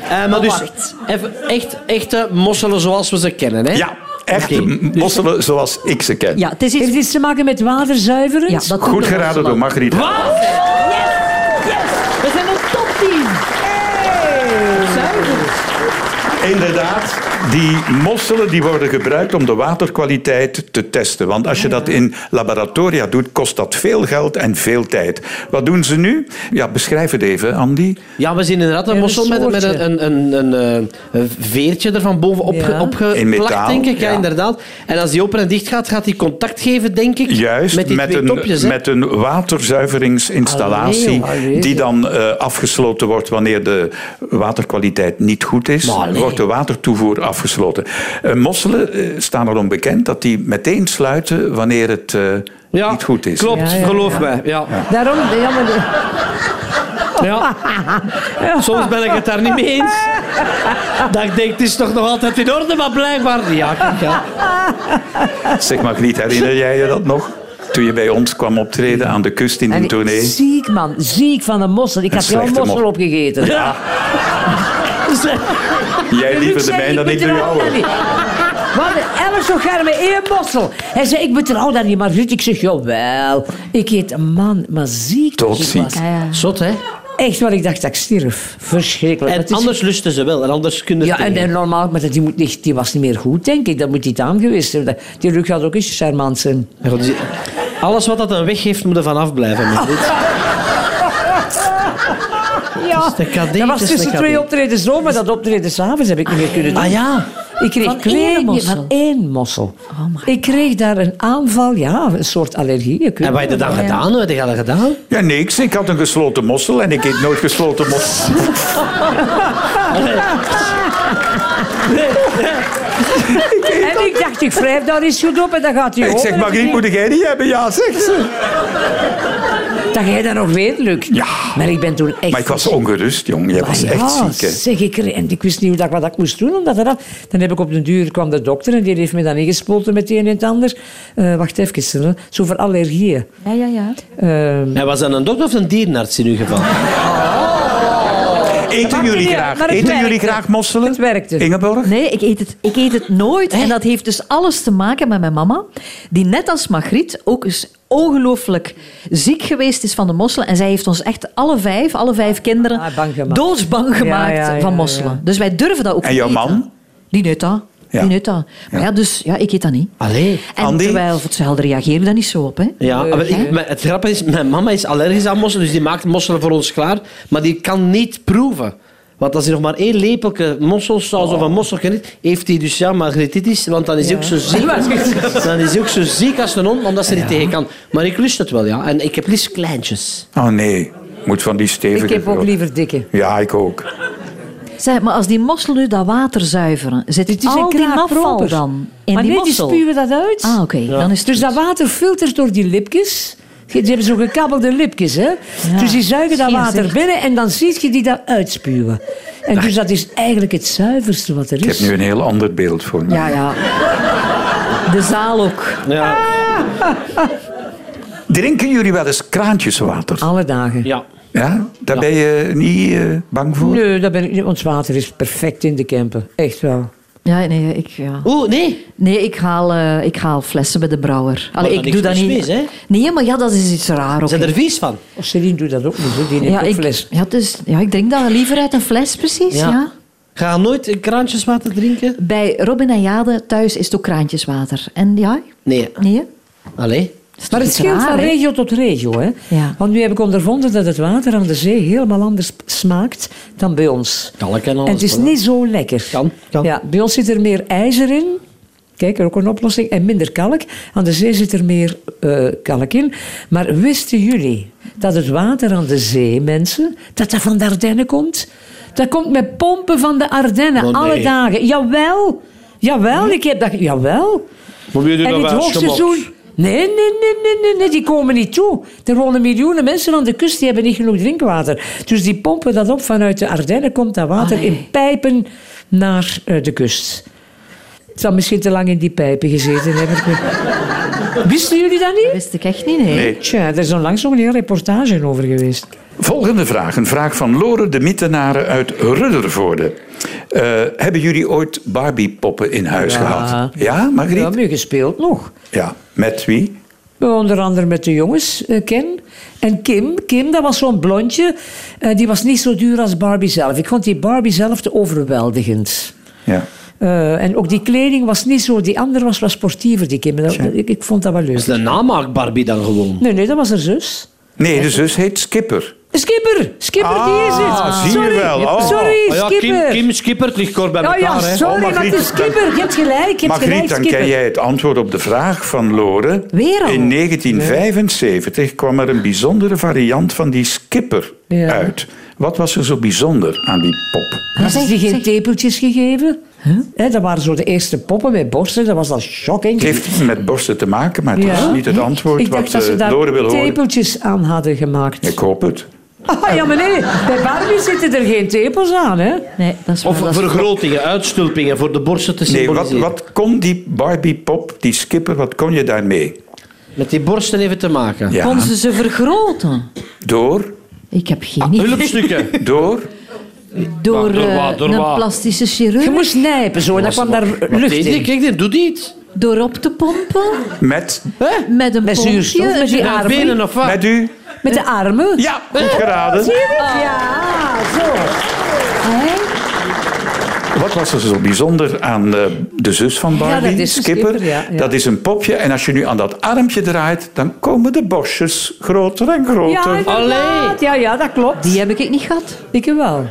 [SPEAKER 4] Eh, maar dus even echt, echte mosselen zoals we ze kennen, hè?
[SPEAKER 3] ja, echt
[SPEAKER 4] Oké.
[SPEAKER 3] m- mosselen zoals ik ze ken.
[SPEAKER 7] Ja, het is iets...
[SPEAKER 6] Heeft iets te maken met waterzuiveren?
[SPEAKER 7] Ja, dat
[SPEAKER 3] Goed geraden door Margriet.
[SPEAKER 7] We zijn een topteam.
[SPEAKER 3] Inderdaad, die mosselen die worden gebruikt om de waterkwaliteit te testen. Want als je dat in laboratoria doet, kost dat veel geld en veel tijd. Wat doen ze nu? Ja, beschrijf het even, Andy.
[SPEAKER 4] Ja, we zien inderdaad een
[SPEAKER 6] Ja,
[SPEAKER 4] mossel
[SPEAKER 6] een
[SPEAKER 4] met, met
[SPEAKER 6] soortje.
[SPEAKER 4] een, een, een, een, eh, een veertje ervan bovenop
[SPEAKER 6] Ja.
[SPEAKER 4] ge-
[SPEAKER 3] In
[SPEAKER 4] opgeplakt,
[SPEAKER 3] metaal,
[SPEAKER 4] denk ik. Ja,
[SPEAKER 3] ja.
[SPEAKER 4] inderdaad. En als die open en dicht gaat, gaat die contact geven, denk ik.
[SPEAKER 3] Juist,
[SPEAKER 4] met die twee
[SPEAKER 3] een,
[SPEAKER 4] topjes. hè.
[SPEAKER 3] met een waterzuiveringsinstallatie
[SPEAKER 6] Allee, allee.
[SPEAKER 3] die dan eh, afgesloten wordt wanneer de waterkwaliteit niet goed is.
[SPEAKER 4] Maar allee.
[SPEAKER 3] Wordt de watertoevoer afgesloten. Eh, mosselen eh, staan erom bekend dat die meteen sluiten wanneer het eh,
[SPEAKER 4] ja,
[SPEAKER 3] niet goed is.
[SPEAKER 4] Klopt,
[SPEAKER 6] Ja, ja,
[SPEAKER 4] geloof
[SPEAKER 6] ja.
[SPEAKER 4] mij. Ja.
[SPEAKER 6] Daarom, ja, maar de-
[SPEAKER 4] Ja. Soms ben ik het daar niet mee eens.
[SPEAKER 6] (laughs)
[SPEAKER 4] Dat ik denk, het is toch nog altijd in orde, maar blijkbaar niet. Ja, kijk, ja.
[SPEAKER 3] Zeg maar, Griet, herinner jij je dat nog? Toen je bij ons kwam optreden aan de kust in een
[SPEAKER 6] en
[SPEAKER 3] tournee.
[SPEAKER 6] ziek man, ziek van de mossel. Ik
[SPEAKER 3] Een
[SPEAKER 6] had jouw
[SPEAKER 3] slechte
[SPEAKER 6] mossel
[SPEAKER 3] mo-
[SPEAKER 6] opgegeten.
[SPEAKER 3] Jij liever de mij dan ik de
[SPEAKER 6] jou.
[SPEAKER 3] jouwe.
[SPEAKER 6] Wat een zo gaar met één mossel. Hij zei, ik betrouw dat niet, maar Ruud, ik zeg, jawel. Ik eet een man, maar ziek.
[SPEAKER 3] Tot
[SPEAKER 6] als ik
[SPEAKER 3] ziek.
[SPEAKER 6] was.
[SPEAKER 4] Zot, hè?
[SPEAKER 6] Echt waar, ik dacht dat ik stierf. Verschrikkelijk.
[SPEAKER 4] En
[SPEAKER 6] Het is-
[SPEAKER 4] anders lusten ze wel. En anders kunnen ze
[SPEAKER 6] Ja,
[SPEAKER 4] het
[SPEAKER 6] en,
[SPEAKER 4] niet.
[SPEAKER 6] en normaal, maar dat- die, moet niet, die was niet meer goed, denk ik. Dat moet niet aan geweest zijn. Dat- Die Luc had ook eens charmant zijn.
[SPEAKER 4] Ja, goed, dus- Alles wat dat een weg heeft, moet er vanaf blijven. maar
[SPEAKER 6] (laughs)
[SPEAKER 4] dit-
[SPEAKER 6] Ja,
[SPEAKER 4] de cadet,
[SPEAKER 6] dat
[SPEAKER 4] het
[SPEAKER 6] was
[SPEAKER 4] is
[SPEAKER 6] tussen
[SPEAKER 4] de
[SPEAKER 6] twee
[SPEAKER 4] cadet.
[SPEAKER 6] optredens zo, maar dat optreden s'avonds heb ik niet meer kunnen doen.
[SPEAKER 4] Ah ja.
[SPEAKER 6] Ik kreeg
[SPEAKER 7] Van één
[SPEAKER 6] kleine-
[SPEAKER 7] mossel?
[SPEAKER 6] Van één mossel.
[SPEAKER 7] Oh my
[SPEAKER 6] ik kreeg daar een aanval, ja, een soort allergie. ik weet
[SPEAKER 4] En wat heb je
[SPEAKER 6] het
[SPEAKER 4] dan
[SPEAKER 6] niet.
[SPEAKER 4] gedaan? Wat heb je dan
[SPEAKER 6] (laughs)
[SPEAKER 4] gedaan?
[SPEAKER 3] Ja, niks. Ik had een gesloten mossel en ik eet nooit gesloten mossel.
[SPEAKER 6] En ik dacht, ik wrijf daar eens goed op en dan gaat hij
[SPEAKER 3] Ik zeg, Margriet, moet jij die hebben? Ja, zegt ze.
[SPEAKER 6] Dat jij dat nog weet, Luc.
[SPEAKER 3] Ja.
[SPEAKER 6] Maar ik ben toen echt...
[SPEAKER 3] Maar ik was ongerust, jong. Jij was
[SPEAKER 6] Ah,
[SPEAKER 3] echt
[SPEAKER 6] ja,
[SPEAKER 3] ziek, hè.
[SPEAKER 6] Zeg ik, er- en ik wist niet hoe dat, wat ik moest doen. Omdat er dat, dan heb ik op den duur kwam de dokter en die heeft me dan ingespoten met het een en het ander. Eh, wacht even, hè. zo voor allergieën.
[SPEAKER 7] Ja, ja, ja.
[SPEAKER 6] Ehm,
[SPEAKER 4] Hij was dan een dokter of een dierenarts in uw geval?
[SPEAKER 3] Eten
[SPEAKER 9] Maakt
[SPEAKER 3] jullie
[SPEAKER 9] niet uit,
[SPEAKER 3] graag,
[SPEAKER 9] maar het
[SPEAKER 3] eten jullie
[SPEAKER 9] werkte.
[SPEAKER 3] graag mosselen?
[SPEAKER 9] Het
[SPEAKER 6] dus.
[SPEAKER 9] werkte.
[SPEAKER 3] Ingeborg?
[SPEAKER 7] Nee, ik eet, het, ik eet het nooit. En dat heeft dus alles te maken met mijn mama, die net als Margriet ook eens ongelooflijk ziek geweest is van de mosselen. En zij heeft ons echt alle vijf, alle vijf kinderen,
[SPEAKER 6] Ah, bang gemaakt.
[SPEAKER 7] doodsbang gemaakt
[SPEAKER 6] ja, ja,
[SPEAKER 7] van
[SPEAKER 6] ja.
[SPEAKER 7] mosselen. Dus wij durven dat ook
[SPEAKER 3] En
[SPEAKER 7] niet
[SPEAKER 3] jouw
[SPEAKER 7] eten.
[SPEAKER 3] man?
[SPEAKER 7] Die neut dat.
[SPEAKER 3] Ja. Ah.
[SPEAKER 7] Die neut dat. Maar ja, dus ja, ik eet dat niet.
[SPEAKER 4] Allee.
[SPEAKER 7] En
[SPEAKER 3] Andy?
[SPEAKER 7] terwijl voor hetzelfde reageer ik daar niet zo op. Hè.
[SPEAKER 4] Ja, maar ik- maar het grappige is, mijn mama is allergisch aan mosselen, dus die maakt mosselen voor ons klaar, maar die kan niet proeven. Want als hij nog maar één lepelke mosselsaus
[SPEAKER 6] Oh.
[SPEAKER 4] of een mosselke niet, heeft hij dus ja, margretitis, want dan is hij ook zo ziek. Dan is hij ook zo ziek als een hond, omdat ze er niet tegen kan. Maar ik lust het wel, ja. En ik heb liefst kleintjes.
[SPEAKER 3] Oh nee, moet van die stevige...
[SPEAKER 6] Ik heb ook liever dikke.
[SPEAKER 3] Ja, ik ook.
[SPEAKER 7] Zeg, maar als die mossel nu dat water zuiveren, zit
[SPEAKER 6] Dit is
[SPEAKER 7] al
[SPEAKER 6] een
[SPEAKER 7] die
[SPEAKER 6] kraakproper.
[SPEAKER 7] afval dan in
[SPEAKER 6] maar
[SPEAKER 7] die
[SPEAKER 6] nee, die
[SPEAKER 7] mossel?
[SPEAKER 6] spuwen dat uit.
[SPEAKER 7] Ah, oké. Dan is het
[SPEAKER 6] Dus
[SPEAKER 7] goed.
[SPEAKER 6] dat water filtert door die lipjes. Ze hebben zo'n gekabbelde lipjes, hè.
[SPEAKER 7] Ja.
[SPEAKER 6] Dus die zuigen dat
[SPEAKER 7] Geen
[SPEAKER 6] water
[SPEAKER 7] zicht.
[SPEAKER 6] binnen en dan zie je die dat uitspuwen. En dus dat is eigenlijk het zuiverste wat er
[SPEAKER 3] Ik heb
[SPEAKER 6] is.
[SPEAKER 3] nu een heel ander beeld voor me.
[SPEAKER 7] (laughs) Ja, ja. De zaal ook.
[SPEAKER 4] Ja.
[SPEAKER 3] Drinken jullie wel eens kraantjeswater?
[SPEAKER 6] Alle dagen.
[SPEAKER 4] ja.
[SPEAKER 3] Ja? Daar ben je niet eh, bang voor?
[SPEAKER 6] Nee, dat ben ik niet. Ons water is perfect in de Kempen. Echt wel.
[SPEAKER 7] Ja, nee, ik, ja.
[SPEAKER 4] Oeh, nee.
[SPEAKER 7] nee ik, haal, eh, ik haal flessen bij de brouwer. Allee,
[SPEAKER 4] dan
[SPEAKER 7] ik
[SPEAKER 4] niks
[SPEAKER 7] doe dat
[SPEAKER 4] mis
[SPEAKER 7] niet.
[SPEAKER 4] mis, hè?
[SPEAKER 7] Nee, maar ja, dat is iets raar. ook,
[SPEAKER 4] Zijn
[SPEAKER 7] hè.
[SPEAKER 4] er vies van?
[SPEAKER 6] Oh, Celine doet dat ook niet, hè. die neemt
[SPEAKER 7] ja,
[SPEAKER 6] ook
[SPEAKER 7] ik,
[SPEAKER 6] fles.
[SPEAKER 7] Ja, dus, ja, ik drink dat liever uit een fles, precies. Ja.
[SPEAKER 4] Ja. Ga je nooit een kraantjes water drinken?
[SPEAKER 7] Bij Robin en Jade thuis is het ook kraantjeswater. En ja,
[SPEAKER 4] Nee.
[SPEAKER 7] nee. hè?
[SPEAKER 4] Allee.
[SPEAKER 7] Is
[SPEAKER 6] Maar
[SPEAKER 7] toch
[SPEAKER 6] het
[SPEAKER 7] iets
[SPEAKER 6] scheelt
[SPEAKER 7] raar,
[SPEAKER 6] van
[SPEAKER 7] hè?
[SPEAKER 6] regio tot regio. Hè?
[SPEAKER 7] Ja.
[SPEAKER 6] Want nu heb ik ondervonden dat het water aan de zee helemaal anders smaakt dan bij ons.
[SPEAKER 4] Kalk en alles.
[SPEAKER 6] En het is
[SPEAKER 4] voilà.
[SPEAKER 6] niet zo lekker.
[SPEAKER 4] Kan, kan.
[SPEAKER 6] Ja, bij ons zit er meer ijzer in. Kijk, er ook een oplossing. En minder kalk. Aan de zee zit er meer eh, kalk in. Maar wisten jullie dat het water aan de zee, mensen, dat dat van de Ardennen komt? Dat komt met pompen van de Ardennen,
[SPEAKER 4] Oh, nee. Hm?
[SPEAKER 6] alle dagen. Jawel, jawel, ik heb dat... ge- Jawel.
[SPEAKER 10] Probeer je
[SPEAKER 6] En
[SPEAKER 10] dat
[SPEAKER 6] in het
[SPEAKER 10] wel eens
[SPEAKER 6] hoogseizoen... Nee, nee, nee, nee, nee, nee, die komen niet toe. Er wonen miljoenen mensen aan de kust, die hebben niet genoeg drinkwater. Dus die pompen dat op vanuit de Ardennen, komt dat water in pijpen naar eh, de kust. Het zal misschien te lang in die pijpen gezeten hebben. Wisten jullie dat niet?
[SPEAKER 7] wist ik echt niet, nee.
[SPEAKER 6] Tja, er is onlangs nog een hele reportage over geweest.
[SPEAKER 3] Volgende vraag. Een vraag van Lore de Mittenaren uit Ruddervoorde. Eh, hebben jullie ooit Barbie-poppen in huis
[SPEAKER 6] Ja.
[SPEAKER 3] gehad? Ja, Margriet?
[SPEAKER 6] Ja,
[SPEAKER 3] Ja,
[SPEAKER 6] hebben we gespeeld nog.
[SPEAKER 3] Met wie?
[SPEAKER 6] Onder andere met de jongens, eh, Ken. En Kim, Kim, dat was zo'n blondje. eh, die was niet zo duur als Barbie zelf. Ik vond die Barbie zelf te overweldigend.
[SPEAKER 3] Ja.
[SPEAKER 6] Eh, en ook die kleding was niet zo. Die andere was wat sportiever, die Kim. Dat- ik, ik vond dat wel
[SPEAKER 4] Is
[SPEAKER 6] leuk.
[SPEAKER 4] de namaak Barbie dan gewoon?
[SPEAKER 6] Nee, nee, dat was haar zus.
[SPEAKER 3] Nee, de zus heet Skipper.
[SPEAKER 6] Skipper! Skipper, die is het!
[SPEAKER 3] Ah, zie je
[SPEAKER 6] sorry,
[SPEAKER 3] wel. Oh.
[SPEAKER 6] sorry,
[SPEAKER 10] Ah, ja, Kim,
[SPEAKER 6] Skipper! Oh
[SPEAKER 10] Kim Skippert ligt kort bij
[SPEAKER 6] Ja,
[SPEAKER 10] elkaar.
[SPEAKER 6] ja,
[SPEAKER 10] hè.
[SPEAKER 6] sorry, maar het is
[SPEAKER 3] Margriet, dan-
[SPEAKER 6] Skipper. Je hebt gelijk, je hebt
[SPEAKER 3] Margriet,
[SPEAKER 6] gelijk,
[SPEAKER 3] dan
[SPEAKER 6] Skipper.
[SPEAKER 3] ken jij het antwoord op de vraag van Lore.
[SPEAKER 7] Weer al?
[SPEAKER 3] In 1975 kwam er een bijzondere variant van die Skipper
[SPEAKER 6] Ja.
[SPEAKER 3] uit. Wat was er zo bijzonder aan die pop?
[SPEAKER 6] Hadden ze die geen tepeltjes gegeven? Hè, dat waren zo de eerste poppen met borsten. Dat was al shocking.
[SPEAKER 3] Het heeft met borsten te maken, maar het
[SPEAKER 6] Ja.
[SPEAKER 3] is niet het antwoord
[SPEAKER 6] ik dacht
[SPEAKER 3] wat
[SPEAKER 6] dat ze
[SPEAKER 3] eh,
[SPEAKER 6] daar
[SPEAKER 3] Lore wil horen.
[SPEAKER 6] tepeltjes aan hadden gemaakt.
[SPEAKER 3] Ik hoop het.
[SPEAKER 6] (laughs) Ah, ja, maar nee, bij Barbie zitten er geen tepels aan, hè?
[SPEAKER 7] Nee, dat is waar,
[SPEAKER 10] Of
[SPEAKER 7] dat is-
[SPEAKER 10] vergrotingen, uitstulpingen voor de borsten te
[SPEAKER 3] Nee, wat,
[SPEAKER 10] symboliseren.
[SPEAKER 3] wat kon die Barbie-pop, die skipper, wat kon je daarmee?
[SPEAKER 4] Met die borsten even te maken.
[SPEAKER 3] Ja.
[SPEAKER 7] Kon ze ze vergroten?
[SPEAKER 3] Door,
[SPEAKER 7] Ik heb
[SPEAKER 6] Ah,
[SPEAKER 7] geen
[SPEAKER 4] (laughs)
[SPEAKER 7] idee.
[SPEAKER 10] Hulpstukken.
[SPEAKER 3] door.
[SPEAKER 7] Door,
[SPEAKER 10] Door
[SPEAKER 7] eh,
[SPEAKER 10] wat, door
[SPEAKER 7] een
[SPEAKER 10] wat?
[SPEAKER 7] plastische chirurg,
[SPEAKER 6] Je moest nijpen zo, en dan kwam daar lucht
[SPEAKER 10] Nee, nee,
[SPEAKER 6] in.
[SPEAKER 10] kijk, dit doet niet.
[SPEAKER 7] door op te pompen,
[SPEAKER 3] Met,
[SPEAKER 7] met een
[SPEAKER 6] Met
[SPEAKER 7] pompje,
[SPEAKER 6] zuurstof, met die
[SPEAKER 7] een-
[SPEAKER 10] Haar
[SPEAKER 6] Armen.
[SPEAKER 10] benen of wat?
[SPEAKER 3] met u?
[SPEAKER 6] Met de armen?
[SPEAKER 3] Ja, goed geraden.
[SPEAKER 6] Ah. Ja, zo.
[SPEAKER 7] Hè?
[SPEAKER 3] Wat was er zo bijzonder aan eh, de zus van Barbie,
[SPEAKER 6] dat is de skipper, ja, ja.
[SPEAKER 3] Dat is een popje en als je nu aan dat armpje draait, dan komen de bosjes groter en
[SPEAKER 6] Ja,
[SPEAKER 3] groter.
[SPEAKER 6] inderdaad. Ja, ja, dat klopt.
[SPEAKER 7] Die heb ik ook niet gehad.
[SPEAKER 6] Ik wel.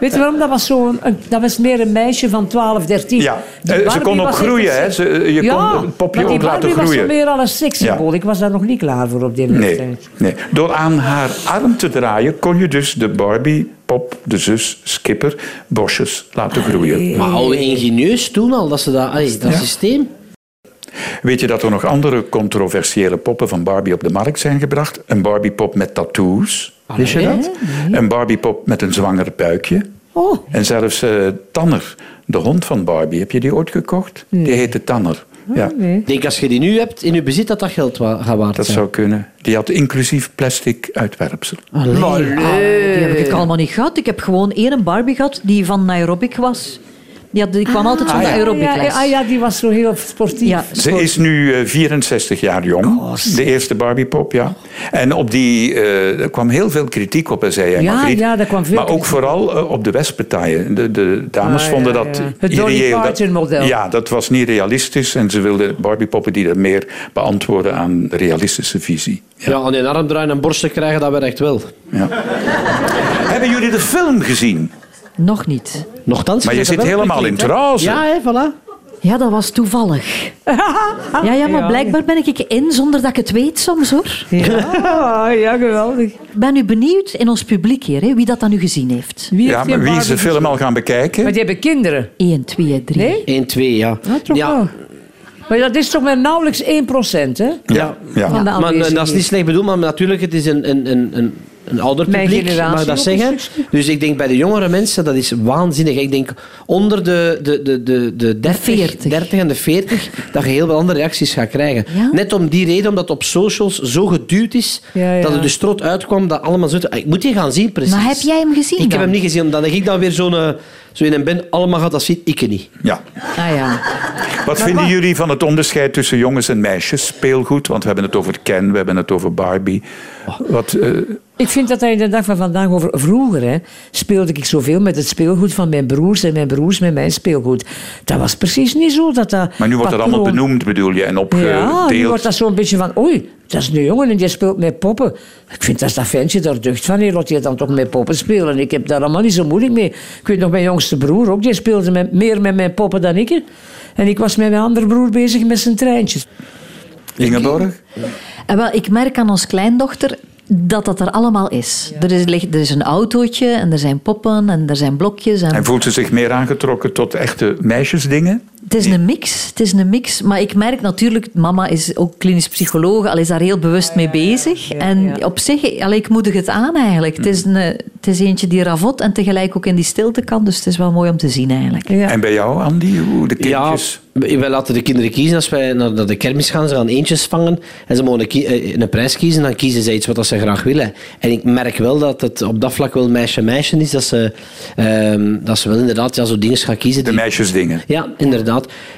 [SPEAKER 6] Weet je waarom? Dat was, zo'n, een- dat was meer een meisje van 12, 13.
[SPEAKER 3] Ja,
[SPEAKER 6] Die
[SPEAKER 3] eh, ze
[SPEAKER 6] Barbie
[SPEAKER 3] kon ook
[SPEAKER 6] was echt
[SPEAKER 3] groeien,
[SPEAKER 6] een
[SPEAKER 3] hè.
[SPEAKER 6] seks-
[SPEAKER 3] Ze, eh, je
[SPEAKER 6] ja,
[SPEAKER 3] kon het popje
[SPEAKER 6] maar die
[SPEAKER 3] ook laten
[SPEAKER 6] Barbie was
[SPEAKER 3] groeien.
[SPEAKER 6] zo meer al een sekssymbool.
[SPEAKER 3] Ja.
[SPEAKER 6] Ik was daar nog niet klaar voor op die
[SPEAKER 3] Ah, Nee,
[SPEAKER 6] leeftijd.
[SPEAKER 3] nee. Door aan haar arm te draaien kon je dus de Barbie, pop, de zus, skipper, bosjes laten groeien.
[SPEAKER 6] Ah,
[SPEAKER 4] Maar al ingenieus toen al, dat ze dat, allee, dat systeem.
[SPEAKER 3] Weet je dat er nog andere controversiële poppen van Barbie op de markt zijn gebracht? Een Barbie-pop met tattoos, wist je dat? Een Barbie-pop met een zwanger buikje.
[SPEAKER 6] Oh.
[SPEAKER 3] En zelfs eh, Tanner, de hond van Barbie, heb je die ooit gekocht? Die heette Tanner. Ja,
[SPEAKER 4] Ik denk, als je die nu hebt in je bezit, dat dat geld wa- gaat waard
[SPEAKER 3] dat
[SPEAKER 4] zijn.
[SPEAKER 3] zou kunnen. Die had inclusief plastic uitwerpsel.
[SPEAKER 7] Allee.
[SPEAKER 6] Oh,
[SPEAKER 7] Ah, die heb ik allemaal niet gehad. Ik heb gewoon één Barbie gehad die van aerobic was. Die, had, die kwam altijd van de
[SPEAKER 6] ja,
[SPEAKER 7] aerobicles.
[SPEAKER 6] ah ja, die was zo heel sportief. (laughs)
[SPEAKER 7] Ja.
[SPEAKER 3] Ze is nu eh, 64 jaar jong, de eerste Barbiepop, ja. En op die eh, er kwam heel veel kritiek op, hè, zei jij,
[SPEAKER 6] Ja,
[SPEAKER 3] Margriet.
[SPEAKER 6] ja, daar kwam veel
[SPEAKER 3] Maar ook
[SPEAKER 6] kritiek
[SPEAKER 3] vooral eh, op de wespentaille. De, de dames
[SPEAKER 6] Ah, ja,
[SPEAKER 3] vonden
[SPEAKER 6] ja.
[SPEAKER 3] dat
[SPEAKER 6] Het Dolly
[SPEAKER 3] irreëel. Dat-
[SPEAKER 6] Parton-model.
[SPEAKER 3] Ja, dat was niet realistisch. En ze wilden Barbiepoppen die dat meer beantwoorden aan de realistische visie.
[SPEAKER 4] Ja, aan je arm draaien en borsten krijgen, dat werkt wel.
[SPEAKER 6] (laughs)
[SPEAKER 3] Hebben jullie de film gezien?
[SPEAKER 7] Nog niet.
[SPEAKER 4] Nochtans,
[SPEAKER 3] Maar je
[SPEAKER 4] hebt
[SPEAKER 3] zit
[SPEAKER 4] dat wel
[SPEAKER 3] helemaal in
[SPEAKER 4] geklikt, hè?
[SPEAKER 3] trance.
[SPEAKER 4] Ja, hè, voilà.
[SPEAKER 7] Ja, dat was toevallig. Ja, ja, maar blijkbaar ben ik in zonder dat ik het weet soms hoor.
[SPEAKER 6] Ja, Ah, ja, geweldig.
[SPEAKER 7] Ik ben nu benieuwd in ons publiek hier, hè, wie dat dan nu gezien heeft.
[SPEAKER 6] Wie
[SPEAKER 3] Ja,
[SPEAKER 6] heeft
[SPEAKER 3] maar
[SPEAKER 6] die
[SPEAKER 3] wie is
[SPEAKER 6] Barbie
[SPEAKER 3] de film al gaan bekijken?
[SPEAKER 6] Maar die hebben kinderen.
[SPEAKER 7] 1, 2, 3.
[SPEAKER 6] Nee?
[SPEAKER 4] 1, 2, ja.
[SPEAKER 6] Ja, toch wel. Maar dat is toch maar nauwelijks 1% hè?
[SPEAKER 3] ja. ja.
[SPEAKER 6] Van de
[SPEAKER 4] Maar en
[SPEAKER 6] aanwezigen.
[SPEAKER 4] dat is niet slecht bedoeld, maar natuurlijk, het is een, een, een, een, een ouder
[SPEAKER 6] Mijn
[SPEAKER 4] publiek,
[SPEAKER 6] generatie
[SPEAKER 4] mag ik dat
[SPEAKER 6] ook een
[SPEAKER 4] zeggen. Dus ik denk bij de jongere mensen, dat is waanzinnig. Ik denk onder de, de, de, de, de 30,
[SPEAKER 7] 40.
[SPEAKER 4] 30 en de 40, dat je heel veel andere reacties gaat krijgen.
[SPEAKER 7] Ja?
[SPEAKER 4] Net om die reden, omdat het op socials zo geduwd is,
[SPEAKER 6] Ja, ja.
[SPEAKER 4] dat het de strot uitkwam, dat allemaal zo... Ah, Ik moet die gaan zien, precies.
[SPEAKER 7] Maar heb jij hem gezien
[SPEAKER 4] Ik heb
[SPEAKER 7] dan?
[SPEAKER 4] hem niet gezien, omdat ik dan weer zo'n... eh, Zo in een ben, allemaal gaat dat zien, ik niet.
[SPEAKER 3] ja.
[SPEAKER 7] Ah ja.
[SPEAKER 3] Wat vinden jullie van het onderscheid tussen jongens en meisjes speelgoed? Want we hebben het over Ken, we hebben het over Barbie. Wat, eh,
[SPEAKER 6] Ik vind dat daar in de dag van vandaag over... Vroeger hè, speelde ik zoveel met het speelgoed van mijn broers en mijn broers met mijn speelgoed. Dat was precies niet zo dat dat...
[SPEAKER 3] maar nu wordt dat allemaal
[SPEAKER 6] patroon-
[SPEAKER 3] benoemd, bedoel je, en
[SPEAKER 6] Ja, nu
[SPEAKER 3] opgedeeld.
[SPEAKER 6] wordt dat zo'n beetje van... Oei, dat is een jongen en die speelt met poppen. Ik vind dat dat ventje daar deugd van heeft, laat je dan toch met poppen spelen. Ik heb daar allemaal niet zo moeilijk mee. Ik weet nog, mijn jongste broer ook, die speelde met, meer met mijn poppen dan ik. En ik was met mijn andere broer bezig met zijn treintjes.
[SPEAKER 3] Ingeborg?
[SPEAKER 7] En Eh, wel, ik merk aan ons kleindochter dat dat er allemaal is. Er, is ligt, er is een autootje en er zijn poppen en er zijn blokjes. En,
[SPEAKER 3] En voelt ze zich meer aangetrokken tot echte meisjesdingen?
[SPEAKER 7] het is een mix, het is een mix. Maar ik merk natuurlijk, mama is ook klinisch psycholoog, al is daar heel bewust mee bezig. En op zich, allee, ik moedig het aan eigenlijk. Het is, een, eh, het is eentje die ravot en tegelijk ook in die stilte kan. Dus het is wel mooi om te zien eigenlijk.
[SPEAKER 6] Ja.
[SPEAKER 3] En bij jou, Andy, hoe de kindjes?
[SPEAKER 4] Ja, wij laten de kinderen kiezen. Als wij naar naar de kermis gaan, ze gaan eentjes vangen en ze mogen een, ki- eh, een prijs kiezen. Dan kiezen ze iets wat dat ze graag willen. En ik merk wel dat het op dat vlak wel meisje-meisje is. Dat ze, ehm, dat ze wel inderdaad ja, zo dingen gaan kiezen.
[SPEAKER 3] De
[SPEAKER 4] die-
[SPEAKER 3] meisjesdingen.
[SPEAKER 4] ja, inderdaad.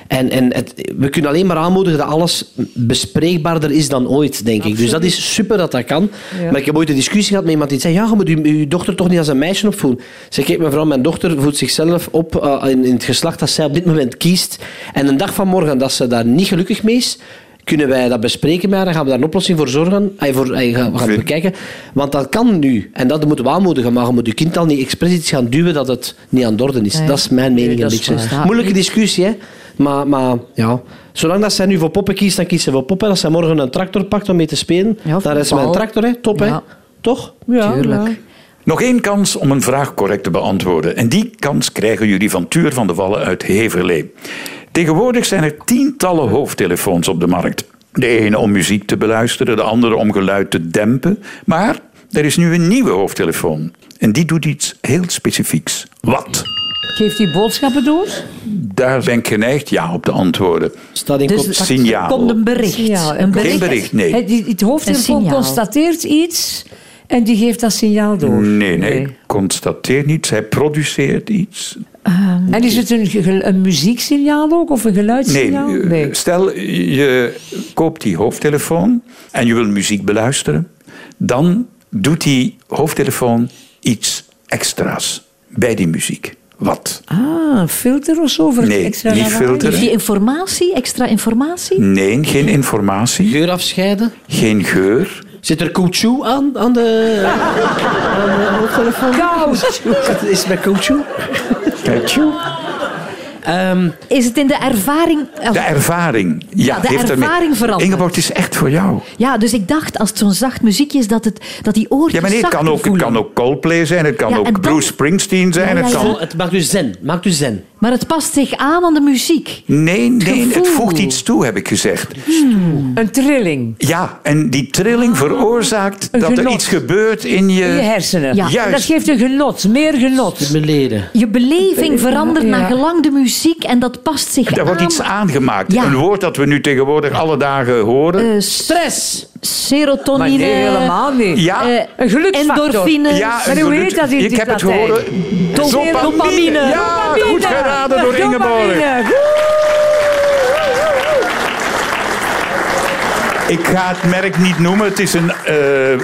[SPEAKER 4] En, en het, we kunnen alleen maar aanmoedigen dat alles bespreekbaarder is dan ooit, denk ik. Dus dat is super dat dat kan. Maar ik heb ooit een discussie gehad met iemand die zei... Ja, je moet je, je dochter toch niet als een meisje opvoeden. Ze zei, kijk mevrouw, mijn dochter voedt zichzelf op eh, in, in het geslacht dat zij op dit moment kiest. En een dag van morgen dat ze daar niet gelukkig mee is... Kunnen wij dat bespreken met haar? Dan gaan we daar een oplossing voor zorgen. Ay, voor, ay, gaan we gaan
[SPEAKER 3] Vind-
[SPEAKER 4] bekijken. Want dat kan nu. En dat moeten we aanmoedigen. Maar je moet je kind al niet expres iets gaan duwen dat het niet aan de orde is.
[SPEAKER 7] Nee.
[SPEAKER 4] Dat is mijn mening.
[SPEAKER 7] Nee, dat
[SPEAKER 4] een
[SPEAKER 7] is
[SPEAKER 4] beetje.
[SPEAKER 7] waar. Ja.
[SPEAKER 4] Moeilijke discussie, hè? Maar, maar ja, zolang dat zij nu voor poppen kiest, dan kiest ze voor poppen. Als zij morgen een tractor pakt om mee te spelen,
[SPEAKER 7] Ja, of
[SPEAKER 4] dan
[SPEAKER 7] een
[SPEAKER 4] is ze met een
[SPEAKER 7] bal.
[SPEAKER 4] tractor, hè? Top,
[SPEAKER 7] Ja.
[SPEAKER 4] hè? Toch?
[SPEAKER 7] Tuurlijk.
[SPEAKER 3] Nog één kans om een vraag correct te beantwoorden. En die kans krijgen jullie van Tuur van de Wallen uit Heverlee. Tegenwoordig zijn er tientallen hoofdtelefoons op de markt. De ene om muziek te beluisteren, de andere om geluid te dempen. Maar er is nu een nieuwe hoofdtelefoon. En die doet iets heel specifieks. Wat?
[SPEAKER 6] Geeft die boodschappen door?
[SPEAKER 3] Daar ben ik geneigd ja op te antwoorden.
[SPEAKER 4] Staat in
[SPEAKER 7] Dus
[SPEAKER 4] kop-
[SPEAKER 7] dat
[SPEAKER 3] Signaal.
[SPEAKER 7] komt een bericht.
[SPEAKER 6] Signaal.
[SPEAKER 7] Een bericht.
[SPEAKER 3] Geen bericht, nee.
[SPEAKER 6] Het, die- het
[SPEAKER 7] Een
[SPEAKER 6] hoofdtelefoon
[SPEAKER 7] signaal.
[SPEAKER 6] constateert iets en die geeft dat signaal door.
[SPEAKER 3] Nee, nee, ik constateer niets. Hij produceert iets.
[SPEAKER 6] En is het een, ge- een muzieksignaal ook of een
[SPEAKER 3] Nee,
[SPEAKER 6] geluidssignaal?
[SPEAKER 7] nou?
[SPEAKER 3] eh, stel je koopt die hoofdtelefoon en je wil muziek beluisteren, dan doet die hoofdtelefoon iets extra's bij die muziek. Wat?
[SPEAKER 6] Ah, een filter of zo? Voor
[SPEAKER 3] Nee,
[SPEAKER 6] extra
[SPEAKER 3] niet
[SPEAKER 6] lawaai?
[SPEAKER 3] filteren.
[SPEAKER 7] Heeft die informatie, extra informatie?
[SPEAKER 3] Nee, geen informatie,
[SPEAKER 4] Geur afscheiden.
[SPEAKER 3] geen geur.
[SPEAKER 4] Zit er koetjoe aan, aan de, aan de hoofdtelefoon? Koutjoe. Is het met koetjoe? Ehm,
[SPEAKER 7] Is het in de ervaring...
[SPEAKER 3] De ervaring. Ja,
[SPEAKER 7] Ah, de
[SPEAKER 3] heeft ermee-
[SPEAKER 7] ervaring verandert.
[SPEAKER 3] Ingeborg, het is echt voor jou.
[SPEAKER 7] Ja, dus ik dacht, als het zo'n zacht muziekje is, dat, het, dat die oortjes
[SPEAKER 3] Ja, maar nee, het kan
[SPEAKER 7] zachter
[SPEAKER 3] ook, het
[SPEAKER 7] voelen.
[SPEAKER 3] kan ook Coldplay zijn, het kan
[SPEAKER 7] Ja, en
[SPEAKER 3] ook
[SPEAKER 7] dan-
[SPEAKER 3] Bruce Springsteen zijn.
[SPEAKER 4] Oh,
[SPEAKER 7] Ja,
[SPEAKER 3] Het
[SPEAKER 7] ja, ja.
[SPEAKER 3] kan...
[SPEAKER 4] het maakt u dus zen. Maakt u zen.
[SPEAKER 7] Maar het past zich aan aan de muziek.
[SPEAKER 3] Nee, nee, het
[SPEAKER 7] gevoel.
[SPEAKER 3] voegt iets toe, heb ik gezegd.
[SPEAKER 6] Een trilling
[SPEAKER 3] Ja, en die trilling veroorzaakt
[SPEAKER 6] Ah, Een
[SPEAKER 3] dat er
[SPEAKER 6] genot.
[SPEAKER 3] iets gebeurt in je...
[SPEAKER 6] in je hersenen.
[SPEAKER 7] Ja.
[SPEAKER 6] En dat
[SPEAKER 3] Eh, Juist.
[SPEAKER 6] geeft een genot, meer genot.
[SPEAKER 4] Mijn leden.
[SPEAKER 7] Je beleving verandert
[SPEAKER 6] Ja.
[SPEAKER 7] naar gelang de muziek en dat past zich aan.
[SPEAKER 3] Daar
[SPEAKER 6] Ah.
[SPEAKER 3] wordt iets aangemaakt.
[SPEAKER 7] Ja.
[SPEAKER 3] Een woord dat we nu tegenwoordig alle dagen horen.
[SPEAKER 7] Eh,
[SPEAKER 6] Stress. Maar
[SPEAKER 7] serotonine.
[SPEAKER 6] nee, helemaal niet.
[SPEAKER 3] ja,
[SPEAKER 7] eh,
[SPEAKER 6] Een geluksfactor.
[SPEAKER 7] Endorfines.
[SPEAKER 3] ja,
[SPEAKER 6] maar
[SPEAKER 3] een
[SPEAKER 6] hoe
[SPEAKER 3] geluid-
[SPEAKER 6] heet dat in
[SPEAKER 3] Ik
[SPEAKER 6] het
[SPEAKER 3] heb het
[SPEAKER 6] Latijn?
[SPEAKER 3] gehoord.
[SPEAKER 6] Dopamine.
[SPEAKER 3] Dopamine. Ja,
[SPEAKER 6] Dopamine.
[SPEAKER 3] goed geraden door Ingeborg.
[SPEAKER 6] Dopamine. Woe!
[SPEAKER 3] Ik ga het merk niet noemen. Het is een eh,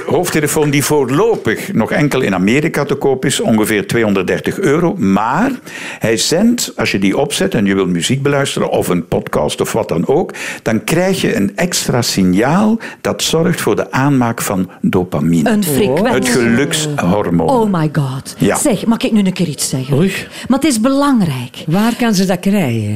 [SPEAKER 3] hoofdtelefoon die voorlopig nog enkel in Amerika te koop is. Ongeveer 230 euro. Maar hij zendt, als je die opzet en je wil muziek beluisteren of een podcast of wat dan ook, dan krijg je een extra signaal dat zorgt voor de aanmaak van dopamine.
[SPEAKER 7] Een
[SPEAKER 6] Oh.
[SPEAKER 7] frequentie.
[SPEAKER 3] Het gelukshormoon.
[SPEAKER 7] Oh my god.
[SPEAKER 3] Ja.
[SPEAKER 7] Zeg, mag ik nu een keer iets zeggen?
[SPEAKER 4] Oei.
[SPEAKER 7] Maar het is belangrijk.
[SPEAKER 6] Waar kan ze dat krijgen?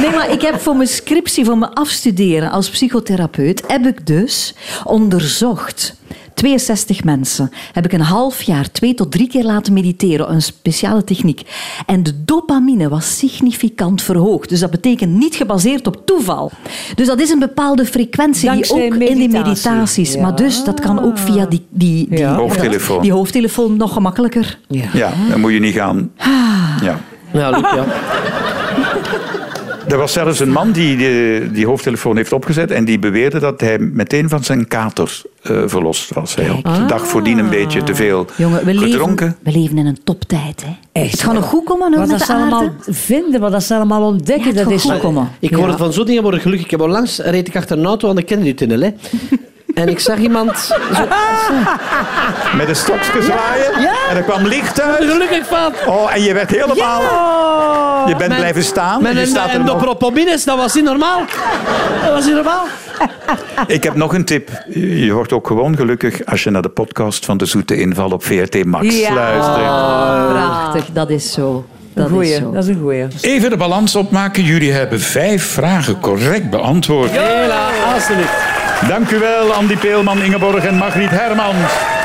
[SPEAKER 7] Nee, maar ik heb voor mijn scriptie, voor mijn afstuderen als psychotherapeut, heb ik dus onderzocht. 62 mensen heb ik een half jaar twee tot drie keer laten mediteren, een speciale techniek. En de dopamine was significant verhoogd. Dus dat betekent niet gebaseerd op toeval. Dus dat is een bepaalde frequentie
[SPEAKER 6] Dankzij
[SPEAKER 7] die ook in die
[SPEAKER 6] meditatie.
[SPEAKER 7] meditaties.
[SPEAKER 6] Ja.
[SPEAKER 7] Maar dus dat kan ook via die, die, die
[SPEAKER 6] Ja.
[SPEAKER 3] Hoofdtelefoon.
[SPEAKER 7] Die hoofdtelefoon nog gemakkelijker.
[SPEAKER 3] Ja, dan moet je niet gaan.
[SPEAKER 7] Ah.
[SPEAKER 3] Ja.
[SPEAKER 4] Nou Ja, Luc,
[SPEAKER 7] Oh,
[SPEAKER 4] ja.
[SPEAKER 3] Er was zelfs een man die de, die hoofdtelefoon heeft opgezet en die beweerde dat hij meteen van zijn kater eh, verlost was. Hij had de dag voordien een beetje te veel
[SPEAKER 7] Ah. Jongen, we leven,
[SPEAKER 3] gedronken.
[SPEAKER 7] we leven in een toptijd. Hè.
[SPEAKER 6] Echt,
[SPEAKER 7] het gaat nog
[SPEAKER 6] ja.
[SPEAKER 7] goed komen hoor,
[SPEAKER 6] Wat
[SPEAKER 7] met
[SPEAKER 6] dat
[SPEAKER 7] de
[SPEAKER 6] ze
[SPEAKER 7] aarde.
[SPEAKER 6] allemaal vinden, wat dat ze allemaal ontdekken,
[SPEAKER 7] Ja, het
[SPEAKER 6] dat
[SPEAKER 7] gaat
[SPEAKER 6] is...
[SPEAKER 7] goed komen.
[SPEAKER 4] Ik word
[SPEAKER 6] Ja.
[SPEAKER 4] van zo'n dingen worden gelukkig. Ik heb onlangs reed ik achter een auto aan de Kennedy-tunnel. hè. En ik zag iemand... Zo,
[SPEAKER 7] Ah,
[SPEAKER 3] Met een stokje zwaaien en er kwam licht uit.
[SPEAKER 4] gelukkig van...
[SPEAKER 3] Oh, en je werd helemaal... Je bent
[SPEAKER 4] Mijn-
[SPEAKER 3] blijven staan.
[SPEAKER 4] Met
[SPEAKER 3] en je
[SPEAKER 4] een
[SPEAKER 3] staat er nog.
[SPEAKER 4] endopropomines, dat was niet normaal. Dat was niet normaal.
[SPEAKER 3] Ik heb nog een tip. Je wordt ook gewoon gelukkig als je naar de podcast van De Zoete Inval op VRT Max
[SPEAKER 6] Ja.
[SPEAKER 3] luistert.
[SPEAKER 7] Prachtig, dat is zo. Dat is
[SPEAKER 6] Goeie,
[SPEAKER 7] zo.
[SPEAKER 6] dat is een goeie.
[SPEAKER 1] Even de balans opmaken. Jullie hebben vijf vragen correct beantwoord.
[SPEAKER 4] Hela, alsjeblieft.
[SPEAKER 3] Dank u wel, Andy Peelman, Ingeborg en Margriet Hermans.